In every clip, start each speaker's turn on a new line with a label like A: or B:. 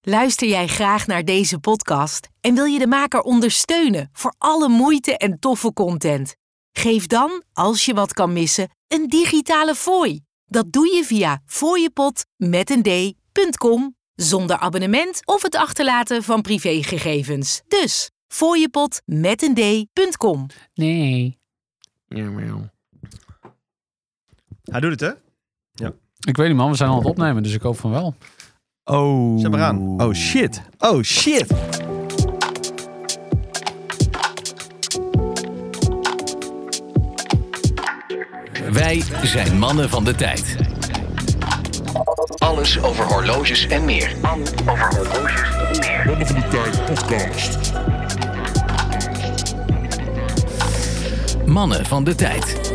A: Luister jij graag naar deze podcast en wil je de maker ondersteunen voor alle moeite en toffe content? Geef dan, als je wat kan missen, een digitale fooi. Dat doe je via fooiepot.com zonder abonnement of het achterlaten van privégegevens. Dus fooiepot.com.
B: Nee.
C: Hij doet het, hè?
B: Ik weet niet, man. We zijn al aan het opnemen, dus ik hoop van wel.
C: Oh. Zet maar aan. Oh, shit. Oh, shit.
D: Wij zijn mannen van de tijd. Alles over horloges en meer. Mannen van de tijd.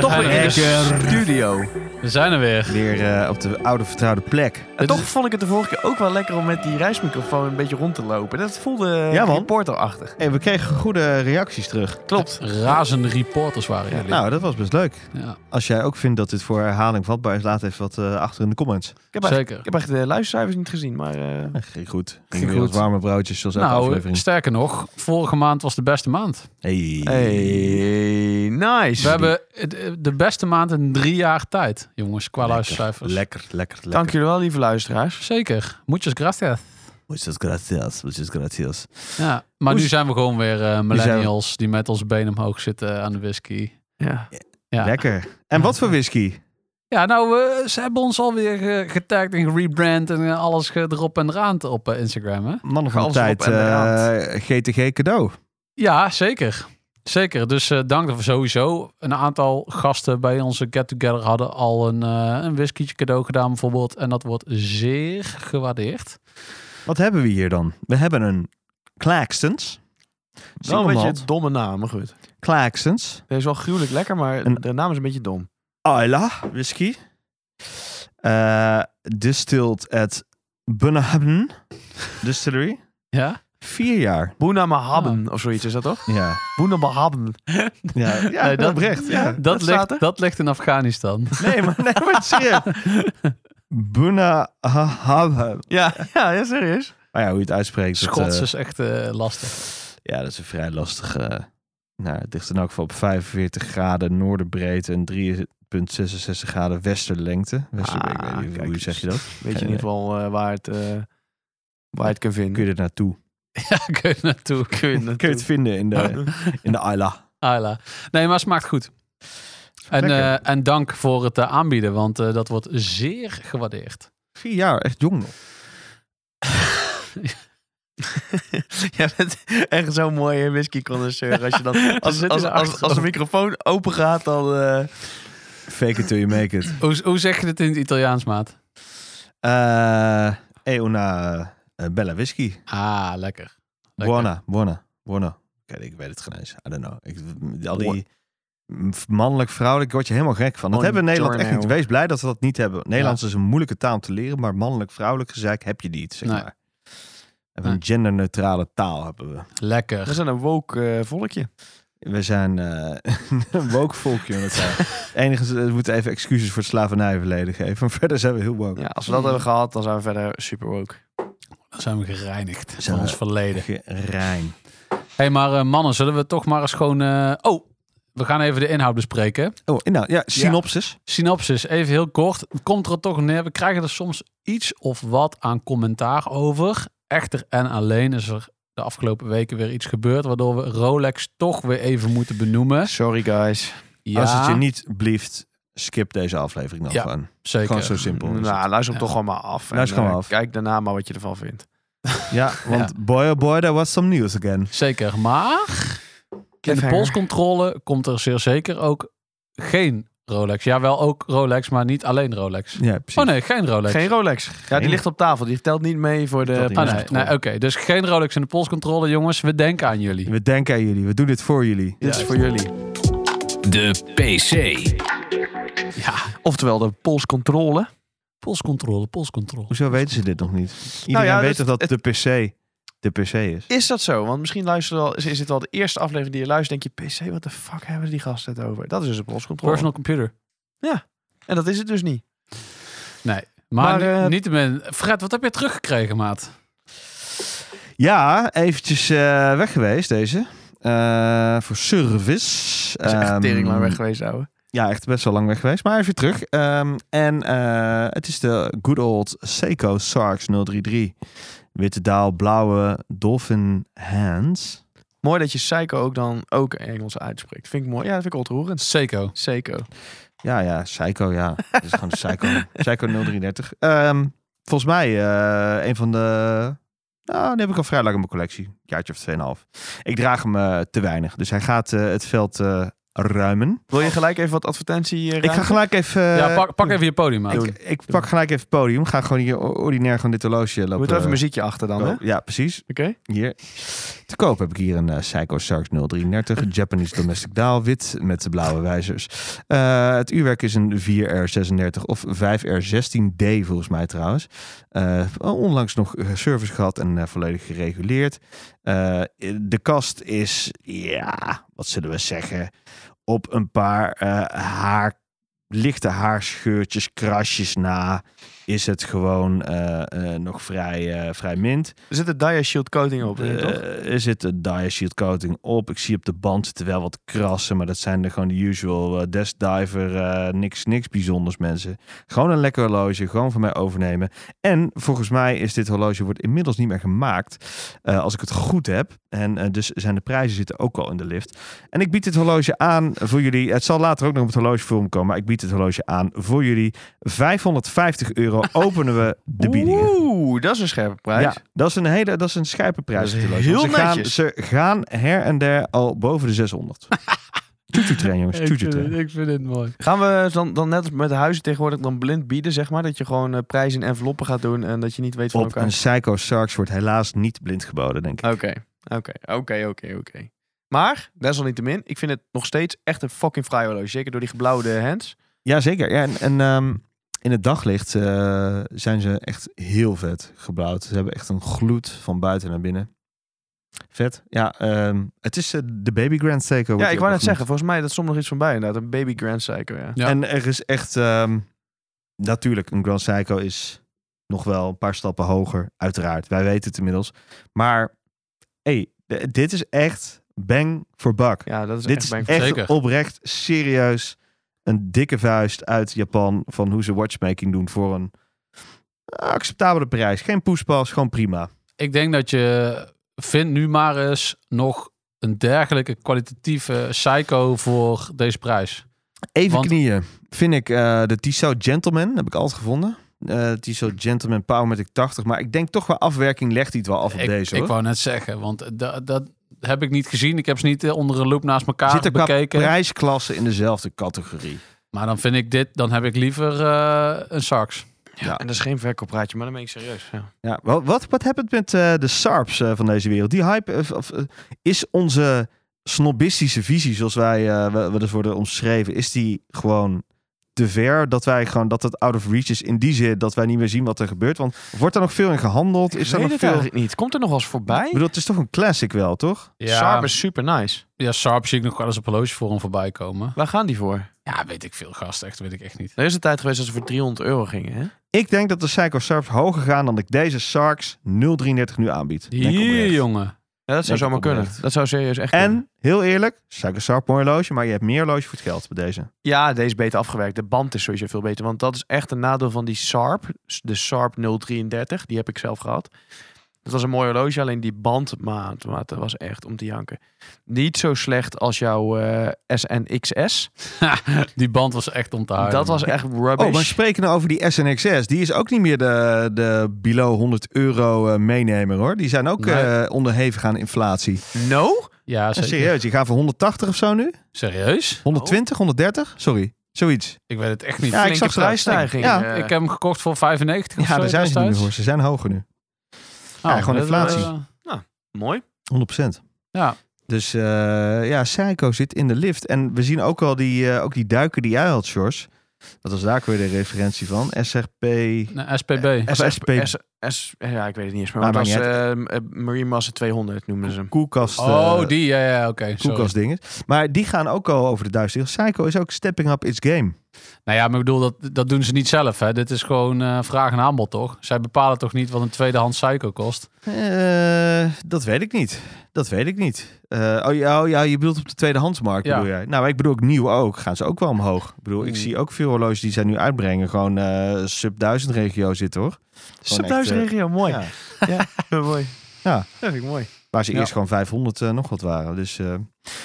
C: Toch weer in de studio.
B: We zijn er weer.
C: Weer eh, op de oude vertrouwde plek.
E: En
B: Dit
E: toch vond ik het de vorige keer ook wel lekker om met die reismicrofoon een beetje rond te lopen. Dat voelde eh,
C: Ja, man.
E: reporterachtig.
C: Hey, we kregen goede reacties terug.
E: Klopt.
B: Razende reporters waren jullie.
C: Nou, dat was best leuk.
B: Ja,
C: Als jij ook vindt dat dit voor herhaling vatbaar is, laat even wat eh, achter in de comments.
E: Ik heb, echt,
B: zeker.
E: ik heb echt de luistercijfers niet gezien, maar... eh,
C: Eh, Ging goed.
B: Ging
C: Ging weer wat
B: goed.
C: warme broodjes, zoals elke
B: Nou,
C: aflevering.
B: sterker nog, vorige maand was de beste maand.
C: Hey.
E: Hey, nice.
B: We hebben het- de beste maand in drie jaar tijd, jongens, qua luistercijfers.
C: Lekker, lekker, lekker.
E: Dank jullie wel, lieve luisteraars.
B: Zeker. Muchas gracias.
C: Muchas gracias, muchas gracias.
B: Ja, maar
C: Hoe
B: nu
C: is-
B: zijn we gewoon weer eh,
C: we-
B: millennials die met onze benen omhoog zitten aan de whisky.
E: Ja.
B: Ja.
C: Lekker. En wat voor whisky?
B: Ja, nou, eh, ze hebben ons alweer eh, getagd en gerebrand en eh, alles ge- erop en eraan op eh, Instagram, hè?
C: Mannen van de
E: Alles erop
C: tijd,
E: en eraan.
C: eh, GTG cadeau.
B: Ja, zeker. Zeker. Dus eh dank daarvoor sowieso. Een aantal gasten bij onze get-together hadden al een, eh een whiskietje cadeau gedaan bijvoorbeeld. En dat wordt zeer gewaardeerd.
C: Wat hebben we hier dan? We hebben een Claxtons.
E: Wel een beetje
C: Single
E: een
C: malt.
E: domme naam, maar goed.
C: Claxtons.
E: Deze is wel gruwelijk lekker, maar
C: Een-
E: de naam is een beetje dom.
C: Ayla whisky. Eh, distilled at Bunahabn Distillery.
B: Ja?
C: Vier jaar.
E: Boena Mahabben of zoiets is dat toch?
C: Ja,
E: Boena Mahabben.
C: ja, ja
B: Nee, dat-
C: oprecht. Ja.
B: Dat,
E: dat staat
B: ligt,
E: er.
B: dat ligt in Afghanistan.
C: Nee, maar, nee, maar serieus. Bunahabn.
E: Ja, ja, ja, serieus.
C: Maar ja, hoe je het uitspreekt. dat,
B: Schots
C: eh,
B: is echt eh, lastig.
C: ja, dat is een vrij lastige... eh, nou, het ligt in elk geval op 45 graden noordenbreedte en 3,66 graden westerlengte. Wester,
E: Ah,
C: ik weet niet,
E: kijk
C: hoe
E: eens.
C: zeg je dat?
E: Weet je in ieder geval eh, waar, het, eh, waar het kan vinden.
C: Kun je er naartoe?
B: Ja, kun je naartoe.
E: Kun je het
C: Kun je het vinden in de, in de Ayla?
B: Ayla. Nee, maar smaakt goed. En,
C: Lekker.
B: eh, en dank voor het eh, aanbieden, want eh, dat wordt zeer gewaardeerd.
C: Vier jaar, echt jong nog.
E: Jij bent echt zo'n mooie whiskyconnoisseur. Als, je dan, als,
B: zit
E: als,
B: in de
E: als, als de microfoon open gaat, dan... eh,
C: Fake it till you make it.
B: Hoe, hoe zeg je dit in het Italiaans, maat?
C: Eh e una eh, bella whisky.
B: Ah, lekker. Lekker.
C: Buona, buona, buona. Kijk, ik weet het geen eens. I don't know. Ik, al die mannelijk, vrouwelijk, word je helemaal gek van. Dat
E: Oh,
C: hebben we in Nederland echt niet.
E: Giorno.
C: Wees blij dat we dat niet hebben. Nederlands is een moeilijke taal om te leren, maar mannelijk, vrouwelijk gezeik heb je niet, zeg
B: Nee.
C: maar. We hebben een genderneutrale taal hebben we.
B: Lekker.
E: We zijn een woke eh, volkje.
C: We zijn eh een woke volkje. met elkaar. Enigszins, eh, we moeten even excuses voor het slavernijverleden geven. Maar verder zijn we heel woke.
E: Ja, als we dat hebben gehad, dan zijn we verder super woke.
B: Dan zijn we gereinigd
C: Zijn
B: van
C: we-
B: ons verleden.
C: Rein.
B: hey, maar eh, mannen, zullen we toch maar eens gewoon... eh, Oh, we gaan even de inhoud bespreken.
C: Oh, nou ja, synopsis.
B: Synopsis, even heel kort. Komt er toch neer, we krijgen er soms iets of wat aan commentaar over. Echter en alleen is er de afgelopen weken weer iets gebeurd... waardoor we Rolex toch weer even moeten benoemen.
E: Sorry guys.
B: Ja,
C: Als het je niet blieft, skip deze aflevering dan
B: Ja,
C: gewoon.
B: zeker.
C: Gewoon zo simpel.
E: Nou,
C: is het.
E: luister hem
B: Ja.
E: toch gewoon maar af. En,
C: Luister gewoon
E: eh,
C: maar af.
E: Kijk daarna maar wat je ervan vindt.
C: Ja, want boy oh boy, there was some news again.
B: Zeker, maar in de
E: Cliffhanger.
B: polscontrole komt er zeer zeker ook geen Rolex. Ja, wel ook Rolex, maar niet alleen Rolex.
C: Ja, precies.
B: Oh nee, geen Rolex.
E: Geen Rolex. Ja, die ligt op tafel. Die telt niet mee voor de...
C: Telt niet
B: Ah,
C: Ja,
B: nee,
C: dat is
B: nee, oké. Dus geen Rolex in de polscontrole, jongens. We denken aan jullie.
C: We denken aan jullie, we doen dit voor jullie.
E: Dit is voor jullie.
D: De PC.
B: Ja,
E: Oftewel de polscontrole.
B: polscontrole, polscontrole.
C: Hoezo weten ze dit nog niet? Nou Iedereen
E: ja,
C: weet
E: dat-
C: toch dat de PC de PC is?
E: Is dat zo? Want misschien luister wel, is, is dit wel de eerste aflevering die je luistert. Denk je, PC, wat de fuck hebben die gasten het over? Dat is dus een polscontrole.
B: Personal computer.
E: En dat is het dus niet.
B: Nee. Maar,
C: Maar, eh,
B: niet Fred, wat heb je teruggekregen, maat?
C: Ja, eventjes eh, weg geweest deze. Eh, voor service.
E: Dat is echt
C: Ehm,
E: tering lang weg geweest, ouwe.
C: Ja, echt best wel lang weg geweest. Maar even terug. Ehm, en eh, het is de good old Seiko Sarx 033. Witte daal, blauwe dolphin hands.
E: Mooi dat je Psycho ook dan ook Engels uitspreekt. Vind ik mooi. Ja, dat vind ik ontroerend.
B: Seco.
E: Seiko.
C: Ja, ja, Seiko, ja. Het is gewoon de Seiko, Seiko 033. Ehm, volgens mij eh, een van de... Nou, die heb ik al vrij lang in mijn collectie. Een jaartje of 2,5. Ik draag hem eh, te weinig. Dus hij gaat eh, het veld eh, ruimen.
E: Wil je gelijk even wat advertentie eh,
C: Ik ga
E: ruimen?
C: gelijk even...
B: ja, pak, pak even je podium, maat.
C: Ik, ik pak gelijk even het podium. Ga gewoon hier o- ordinair gewoon dit horloge lopen.
E: Er moet wel even muziekje achter dan, hè?
C: Oh,
E: Oké?
C: Ja, precies. Hier. Te koop heb ik hier een eh, Seiko Sarx 033, Japanese Domestic Daal, wit met de blauwe wijzers. Eh, het uurwerk is een 4R36 of 5R16D volgens mij trouwens. Eh, onlangs nog eh, service gehad en eh, volledig gereguleerd. Eh, de kast is, ja, wat zullen we zeggen, op een paar eh, haar, lichte haarscheurtjes, krasjes na, is het gewoon eh, eh, nog vrij, eh, vrij mint.
E: Er zit een dia shield coating op, denk ik, toch?
C: Eh, er zit een dia shield coating op. Ik zie op de band zitten wel wat krassen, maar dat zijn de gewoon de usual eh, desk diver, eh, niks, niks bijzonders mensen. Gewoon een lekker horloge, gewoon van mij overnemen. En volgens mij is dit horloge wordt inmiddels niet meer gemaakt, eh, als ik het goed heb. En eh, dus zijn de prijzen zitten ook al in de lift. En ik bied dit horloge aan voor jullie. Het zal later ook nog op het horlogefilm komen, maar ik bied dit horloge aan voor jullie. 550 euro openen we de biedingen.
E: Oeh, dat is een scherpe prijs.
C: Ja, dat is een hele, dat is een scherpe prijs.
E: Dat is
C: natuurlijk. Want
E: heel
C: ze gaan,
E: netjes.
C: ze gaan her en der al boven de 600. Tutu train, jongens.
E: eh,
C: Tutu train.
B: dit mooi.
E: Gaan we dan, dan net als met de huizen tegenwoordig dan blind bieden, zeg maar? Dat je gewoon eh, prijzen in enveloppen gaat doen en dat je niet weet van
C: Op
E: elkaar.
C: een Psycho Sarks wordt helaas niet blind geboden, denk ik.
E: Oké, oké, oké, oké, oké. Maar, desalniettemin, ik vind het nog steeds echt een fucking fraai horloge. Zeker door die geblauwde hands.
C: Jazeker. Ja, en en ehm, in het daglicht eh, zijn ze echt heel vet geblauwd. Ze hebben echt een gloed van buiten naar binnen. Vet. Ja, ehm, het is eh, de Baby Grand Seiko. wordt
E: Ja,
C: die
E: ik
C: ook
E: wou net
C: genoemd.
E: zeggen, volgens mij dat stond nog iets van bij inderdaad. Een baby grand psycho, ja.
B: Ja.
C: En er is echt... ehm, natuurlijk, een Grand Psycho is nog wel een paar stappen hoger. Uiteraard, wij weten het inmiddels. Maar, hey, d- dit is echt bang voor buck.
E: Ja, dat is
C: dit
E: echt
C: is
E: bang
C: echt,
E: voor-
B: Zeker.
C: oprecht serieus een dikke vuist uit Japan... van hoe ze watchmaking doen voor een acceptabele prijs. Geen poespas, gewoon prima.
B: Ik denk dat je, vind nu maar eens nog een dergelijke kwalitatieve Seiko voor deze prijs.
C: Even
B: Want-
C: knieën. Vind ik eh, de Tissot Gentleman, heb ik altijd gevonden. Eh Tissot Gentleman Powermatic 80. Maar ik denk toch wel afwerking legt hij het wel af op
B: ik,
C: deze.
B: ik
C: hoor.
B: wou net zeggen, want dat, dat heb ik niet gezien. Ik heb ze niet eh, onder een loep naast elkaar
C: Zitten qua
B: bekeken.
C: prijsklassen in dezelfde categorie.
B: Maar dan vind ik dit, dan heb ik liever eh, een Sarks.
C: Ja.
E: En dat is geen verkoopraadje, maar dan ben ik serieus. Ja.
C: Ja, wel, wat, wat heb het met eh, de SARPs eh, van deze wereld? Die hype eh, of, eh, is onze snobistische visie, zoals wij eh, wel wel eens worden omschreven, is die gewoon te ver dat wij gewoon dat het out of reach is in die zin dat wij niet meer zien wat er gebeurt. Want wordt er nog veel in gehandeld? Is er nog veel? Ik
E: niet. Komt er nog wel eens voorbij?
C: bedoel, het is toch een classic wel, toch?
E: Ja. is super nice.
B: ja, Sarp zie ik nog wel eens op horlogeforum voorbij komen.
E: Waar gaan die voor?
B: Ja, weet ik veel, gast. Echt, weet ik echt niet.
E: Er is een tijd geweest dat ze voor 300 euro gingen, hè?
C: Ik denk dat de Psycho Sarps hoger gaan dan ik deze Sarks 033 nu aanbied. Denk ik
B: Hier,
C: oprecht.
B: jongen.
E: Ja, dat zou
C: Denk ik
E: zomaar kunnen.
C: oprecht.
E: Dat zou serieus echt kunnen.
C: En heel eerlijk, Psycho Sarp mooi horloge, maar je hebt meer horloge voor het geld bij deze.
E: Ja, deze is beter afgewerkt. De band is sowieso veel beter. Want dat is echt een nadeel van die Sarp. De Sarp 033. Die heb ik zelf gehad. Dat was een mooi horloge. Alleen die band, maat, maat, dat was echt om te janken. Niet zo slecht als jouw eh, SNXS.
B: Die band was echt om te huilen.
E: dat was echt rubbish.
C: Oh, maar spreken nou over die SNXS. Die is ook niet meer de, de below 100 euro eh, meenemer hoor. Die zijn ook
B: Nee.
C: eh, onderhevig aan inflatie.
E: No?
B: Ja,
C: Ja,
B: zeker.
C: serieus, die gaan voor 180 of zo nu?
B: Serieus?
C: 120, 130? Sorry, zoiets.
B: Ik weet het echt niet.
C: Ja, ik zag
E: Flinke
C: ze
E: prijsstijging.
C: daar
E: eh.
B: ik heb hem gekocht voor 95 of
C: Ja,
B: zo
C: daar zijn ze niet meer
B: destijds.
C: voor. Ze zijn hoger nu. Ja, gewoon
B: dat,
C: inflatie.
B: eh,
E: Mooi.
C: 100%.
B: ja,
C: Dus eh, ja, Psycho zit in de lift. En we zien ook al die, eh, ook die duiken die jij had, Sjors. Dat was daar ook weer de referentie van. SRP...
B: een SPB.
C: SPB.
E: S, ja, ik weet het niet eens meer.
C: Maar
E: Maar het was
C: maakt
E: eh, eh, Marine Massa 200 noemden ze hem.
C: Koelkast.
B: Oh,
C: eh,
B: die, ja, ja, oké. sorry.
C: Koelkastdingen. Maar die gaan ook al over de duizend. euro. Psycho is ook stepping up its game.
B: Nou ja, maar ik bedoel, dat, dat doen ze niet zelf. Hè? Dit is gewoon eh, vraag en aanbod, toch? Zij bepalen toch niet wat een tweedehands Psycho kost?
C: Eh, dat weet ik niet. Dat weet ik niet. Eh, oh, ja, oh ja, je bedoelt op de tweedehandsmarkt
B: Ja.
C: bedoel jij. Nou, maar ik bedoel ook nieuw ook. Gaan ze ook wel omhoog. Ik bedoel, ik
B: Mm.
C: zie ook veel horloges die zij nu uitbrengen. Gewoon eh sub 1000 regio zitten hoor. Gewoon echt, eh,
E: regio, mooi.
C: Ja.
E: mooi.
C: Ja.
E: Dat vind ik mooi.
C: Waar ze
B: Ja.
C: eerst gewoon 500 eh, nog wat waren. Dus, eh,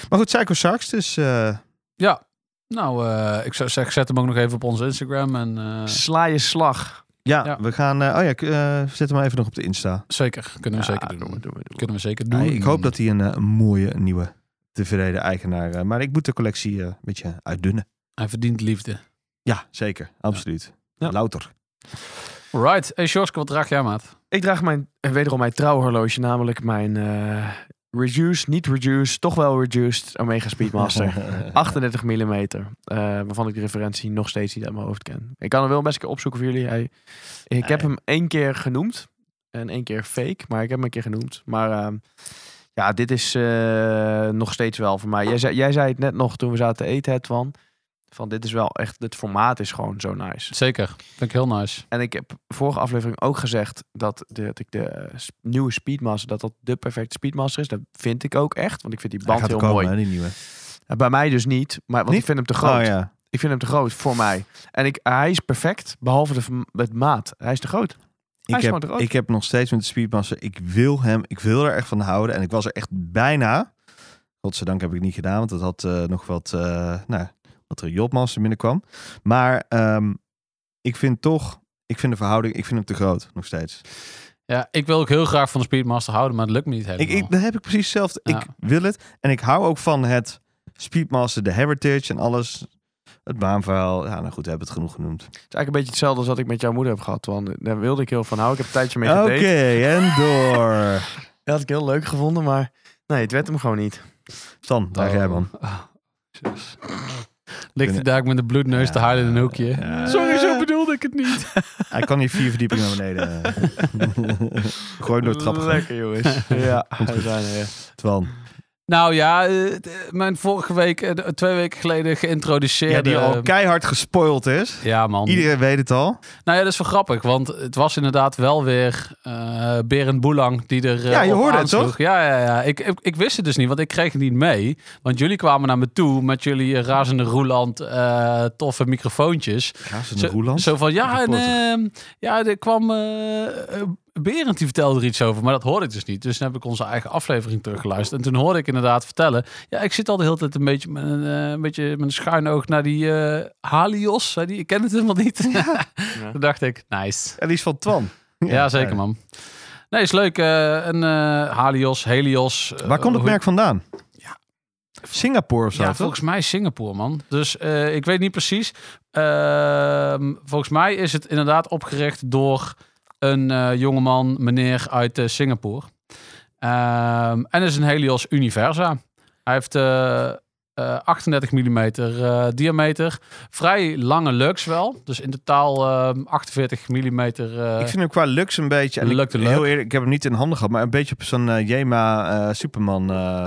C: Maar goed, Psycho Sarks. Dus eh,
B: Ja. Nou, eh, ik zou zeggen, zet hem ook nog even op onze Instagram. En eh,
E: Sla je slag.
C: ja,
B: Ja.
C: we gaan... eh, oh ja, k- eh, zet hem maar even nog op de Insta.
B: zeker, kunnen we
E: Ja,
B: zeker doen.
E: we, doen we, doen we.
B: Kunnen we zeker doen.
C: ik hoop dat hij een eh, mooie nieuwe tevreden eigenaar... eh, maar ik moet de collectie eh, een beetje uitdunnen.
B: Hij verdient liefde.
C: Ja, zeker. Absoluut.
E: Ja.
C: Louter.
B: Right. Hey, Sjorske, wat draag jij, maat?
E: Ik draag mijn, eh, wederom mijn trouwhorloge, namelijk mijn eh, Reduced, niet Reduced, toch wel Reduced Omega Speedmaster. 38 mm, waarvan ik de referentie nog steeds niet uit mijn hoofd ken. Ik kan hem wel best een keer opzoeken voor jullie. Hij, ik heb
C: Nee.
E: hem één keer genoemd en één keer fake, maar ik heb hem een keer genoemd. Maar ehm, ja, dit is eh, nog steeds wel voor mij. Jij zei, jij zei het net nog toen we zaten te eten, het van. Van dit is wel echt, het formaat is gewoon zo nice.
B: Zeker. Vind ik heel nice.
E: En ik heb vorige aflevering ook gezegd dat, de, dat ik de eh, s- nieuwe Speedmaster, dat dat de perfecte Speedmaster is. Dat vind ik ook echt, want ik vind die
C: Hij
E: band heel mooi.
C: hè, die nieuwe.
E: En Bij mij dus niet, maar, want
C: Niet?
E: ik vind hem te groot.
C: Oh ja.
E: Ik vind hem te groot voor mij. En ik, hij is perfect, behalve de, verm- het maat. Hij is te groot. Hij is
C: Ik
E: gewoon
C: heb,
E: te groot.
C: ik heb nog steeds met de Speedmaster. Ik wil hem, ik wil er echt van houden. En ik was er echt bijna. Godzijdank heb ik het niet gedaan, want dat had eh, nog wat, eh nou, wat er Jobmaster binnenkwam. Maar ehm, ik vind toch, ik vind de verhouding, ik vind hem te groot nog steeds.
B: Ja, ik wil ook heel graag van de Speedmaster houden, maar het lukt me niet
C: Ik,
B: helemaal.
C: ik, dan heb ik precies hetzelfde.
B: Ja.
C: Ik wil het. En ik hou ook van het Speedmaster, de heritage en alles. Het baanverhaal. Ja, nou goed, we hebben het genoeg genoemd.
E: Het is eigenlijk een beetje hetzelfde als wat ik met jouw moeder heb gehad. Want daar wilde ik heel van houden. Ik heb een tijdje mee
C: Oké,
E: gedate.
C: en door.
E: Dat had ik heel leuk gevonden, maar nee, het werd hem gewoon niet.
C: Stan, daar ga jij man.
B: Oh. Jezus. Ligt hij daar ook met een bloedneus te huilen in een hoekje.
C: Ja.
B: Sorry, zo bedoelde ik het niet.
C: Hij kan hier vier verdiepingen naar beneden. Gooi door de trappen. gewoon.
E: Lekker jongens. ja, we zijn er weer.
C: Twan.
B: Nou ja, eh, d- mijn vorige week, eh, d- twee weken geleden geïntroduceerd.
C: Ja, die al keihard gespoild is.
B: Ja, man.
C: Iedereen weet het al.
B: Nou ja, dat is wel grappig, want het was inderdaad wel weer eh Berend Boelang die er. eh,
C: Ja, je
B: op
C: hoorde het,
B: aansloeg.
C: toch?
B: Ja, ja, ja. Ik, ik, ik wist het dus niet, want ik kreeg het niet mee. Want jullie kwamen naar me toe met jullie eh, razende roeland, eh, toffe microfoontjes.
C: Gaan ze
B: Zo- Zo van, ja, en,
C: Reporter.
B: ehm, ja er kwam eh, eh, Berend, die vertelde er iets over. Maar dat hoorde ik dus niet. Dus toen heb ik onze eigen aflevering teruggeluisterd. En toen hoorde ik inderdaad vertellen. Ja, ik zit al de hele tijd een beetje met een, eh, een, beetje met een schuin oog naar die eh, Halios. Zei die, ik ken het helemaal niet. toen dacht ik, nice.
C: En die is van Twan.
B: Ja, zeker man. Nee, is leuk. eh een eh, Halios, Helios. eh,
C: Waar komt het
B: hoe-
C: merk vandaan? Singapore of zo,
B: Ja,
C: toch?
B: volgens mij Singapore, man. Dus eh, ik weet niet precies. Ehm, volgens mij is het inderdaad opgericht door een eh, jongeman, meneer uit eh, Singapore. Ehm, en is een Helios Universa. Hij heeft eh, eh, 38 mm diameter. Vrij lange lux wel. Dus in totaal ehm, 48 mm.
C: Ik vind hem qua lux een beetje... En ik-
B: Lukte leuk.
C: Heel eerlijk, ik heb hem niet in handen gehad, maar een beetje op zo'n eh, Jema eh, Superman eh,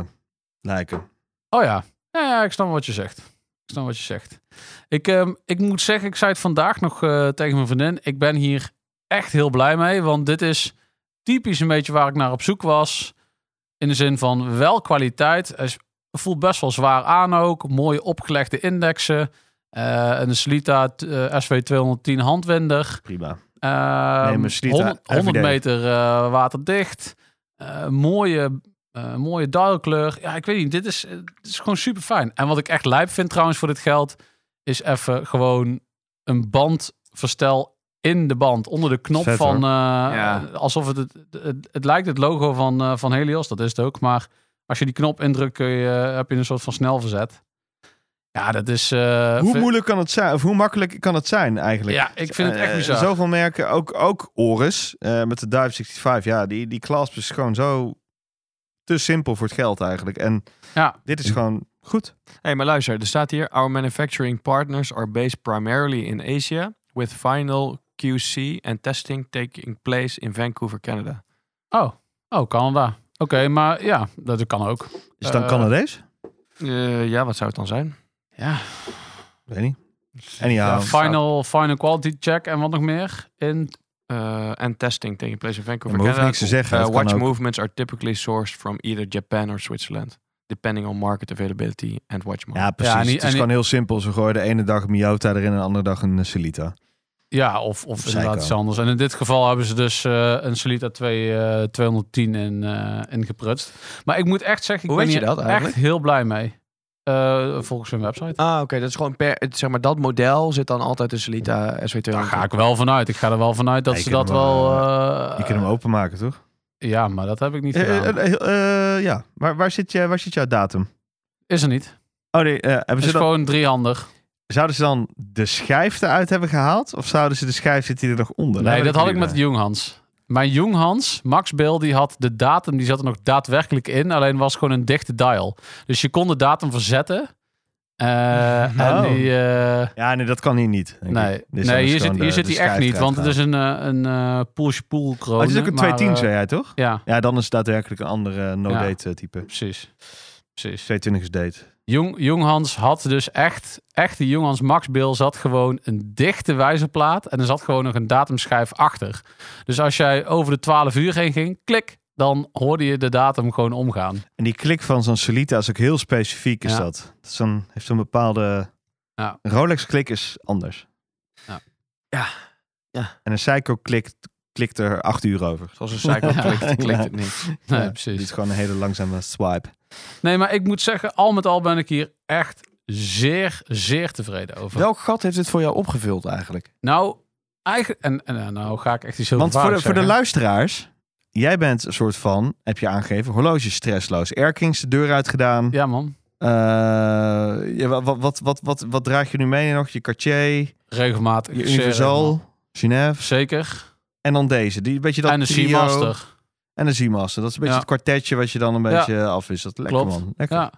C: lijken.
B: Oh ja. Ja, ja, ik snap wat je zegt. Ik snap wat je zegt. Ik, ehm, ik moet zeggen, ik zei het vandaag nog eh, tegen mijn vriendin. Ik ben hier echt heel blij mee. Want dit is typisch een beetje waar ik naar op zoek was. In de zin van wel kwaliteit. Hij is- voelt best wel zwaar aan ook. Mooie opgelegde indexen. Eh, een Slita eh, SW210 handwender.
C: Prima.
B: Ehm,
C: Nee, maar Slita,
B: 100, 100
C: everyday.
B: meter eh, waterdicht. Eh, mooie, eh mooie dialkleur. Ja, ik weet niet. Dit is, eh, dit is gewoon super fijn. En wat ik echt lijp vind trouwens voor dit geld... is even gewoon een bandverstel in de band. Onder de knop
C: Vet,
B: van...
C: hoor.
B: eh,
E: Ja.
B: Alsof het het, het... het lijkt het logo van, eh, van Helios. Dat is het ook. Maar als je die knop indrukt... kun je, eh, heb je een soort van snelverzet. Ja, dat is... eh,
C: hoe
B: vind-
C: moeilijk kan het zijn? Of hoe makkelijk kan het zijn eigenlijk?
B: Ja, ik vind het echt
C: Eh,
B: bizar.
C: Zoveel merken, ook, ook Oris eh, met de Dive 65. Ja, die, die clasp is gewoon zo te simpel voor het geld eigenlijk. En
B: Ja.
C: dit is gewoon goed.
E: Hey, maar luister, er staat hier: Our manufacturing partners are based primarily in Asia, with final QC en testing taking place in Vancouver, Canada.
B: Oh, oh Canada. Oké, maar ja, dat kan ook.
C: Is het dan
B: Eh,
C: Canadees?
E: Eh, ja, wat zou het dan zijn?
B: Ja,
C: Weet niet. Anyhow,
B: ja, final, final quality check en wat nog meer? In,
E: Eh, en testing taking place in Vancouver,
C: maar hoeft
E: Canada.
C: niks te zeggen.
E: Uh,
C: Het kan
E: watch
C: ook-
E: movements are typically sourced from either Japan or Switzerland, depending on market availability and watch mode.
C: Ja, precies.
B: Ja, en die-
C: het is
B: en die-
C: gewoon heel simpel. Ze gooien de ene dag een Miyota erin en de andere dag een eh, Celita.
B: ja, of, of inderdaad
C: Psycho.
B: iets anders. En in dit geval hebben ze dus eh, een Solita 2, eh, 210 in, eh in geprutst. Maar ik moet echt zeggen, ik
E: Hoe
B: ben
E: weet je
B: hier
E: dat eigenlijk?
B: echt heel blij mee. Eh, volgens hun website.
E: Ah, oké, dat is gewoon per, het- zeg maar dat model zit dan altijd in Celita SW200.
B: Daar ga ik wel vanuit. Ik ga er wel vanuit dat
C: Ja, je
B: ze
C: kunt
B: dat
C: hem,
B: wel... eh,
C: Je kunt hem openmaken, toch?
B: Ja, maar dat heb ik niet
C: Eh, eh,
B: gedaan.
C: eh, eh, eh, ja. Waar, waar, zit je, waar zit jouw datum?
B: Is er niet.
C: Oh nee, eh, hebben
B: Het
C: ze
B: is
C: dan,
B: gewoon driehandig.
C: zouden ze dan de schijf eruit hebben gehaald? Of zouden ze de schijf, zit die er nog onder? Daar
B: Nee,
C: ben
B: dat had ik met
C: benieuwd
B: Junghans. Mijn Junghans, Max Bill, die had de datum, die zat er nog daadwerkelijk in. Alleen was gewoon een dichte dial. Dus je kon de datum verzetten. Eh, En
C: Oh.
B: die... eh,
C: naar. Ja, nee, dat kan hier niet. denk ik.
B: nee,
C: Dit is
B: nee
C: anders
B: hier zit,
C: gewoon
B: hier
C: de-
B: zit
C: de
B: die echt
C: schijf
B: niet. Want het
C: eruit
B: is een, eh, een eh, push-pull
C: halen.
B: kroon.
C: Oh, het is ook een 210, zei jij toch?
B: eh, Ja,
C: Ja, dan is het daadwerkelijk een andere no-date eh, type.
B: precies. Precies.
C: 220 is date.
B: Jong, Jonghans had dus echt, echt die Jonghans Max Bill zat gewoon een dichte wijzerplaat en er zat gewoon nog een datumschijf achter. Dus als jij over de 12 uur heen ging, klik, dan hoorde je de datum gewoon omgaan.
C: En die klik van zo'n Solita is ook heel specifiek, is
B: Ja.
C: dat. dat is een, heeft zo'n bepaalde...
B: Ja.
C: Een Rolex-klik is anders.
B: Ja.
E: Ja. Ja.
C: En een Seiko klikt, klikt er acht uur over.
E: Zoals een cycle klikt, klikt
C: Ja.
E: het niet.
B: Nee,
C: Ja, Dit is
B: precies.
C: gewoon een hele langzame swipe.
B: Nee, maar ik moet zeggen, al met al ben ik hier echt zeer, zeer tevreden over.
E: Welk gat heeft dit voor jou opgevuld eigenlijk?
B: Nou, eigenlijk, en, en eh, nou ga ik echt iets heel
C: Want voor de, voor de
B: gevaarlijks
C: luisteraars... Jij bent een soort van, heb je aangegeven, horloge stressloos. Erkings de deur uitgedaan.
B: zeggen. Ja man,
C: Eh, ja, wat, wat, wat, wat, wat draag je nu mee nog? Je Cartier,
B: regelmatig.
C: je
B: zeer regelmatig.
C: Universal, Genève.
B: Zeker.
C: En dan deze. Die, een beetje dat
B: en de
C: trio.
B: Seamaster.
C: En een Seamaster. Dat is een beetje
B: Ja.
C: het kwartetje wat je dan
B: Ja.
C: een beetje eh, afwisselt. Lekker
B: Klopt.
C: man. Lekker.
B: Ja.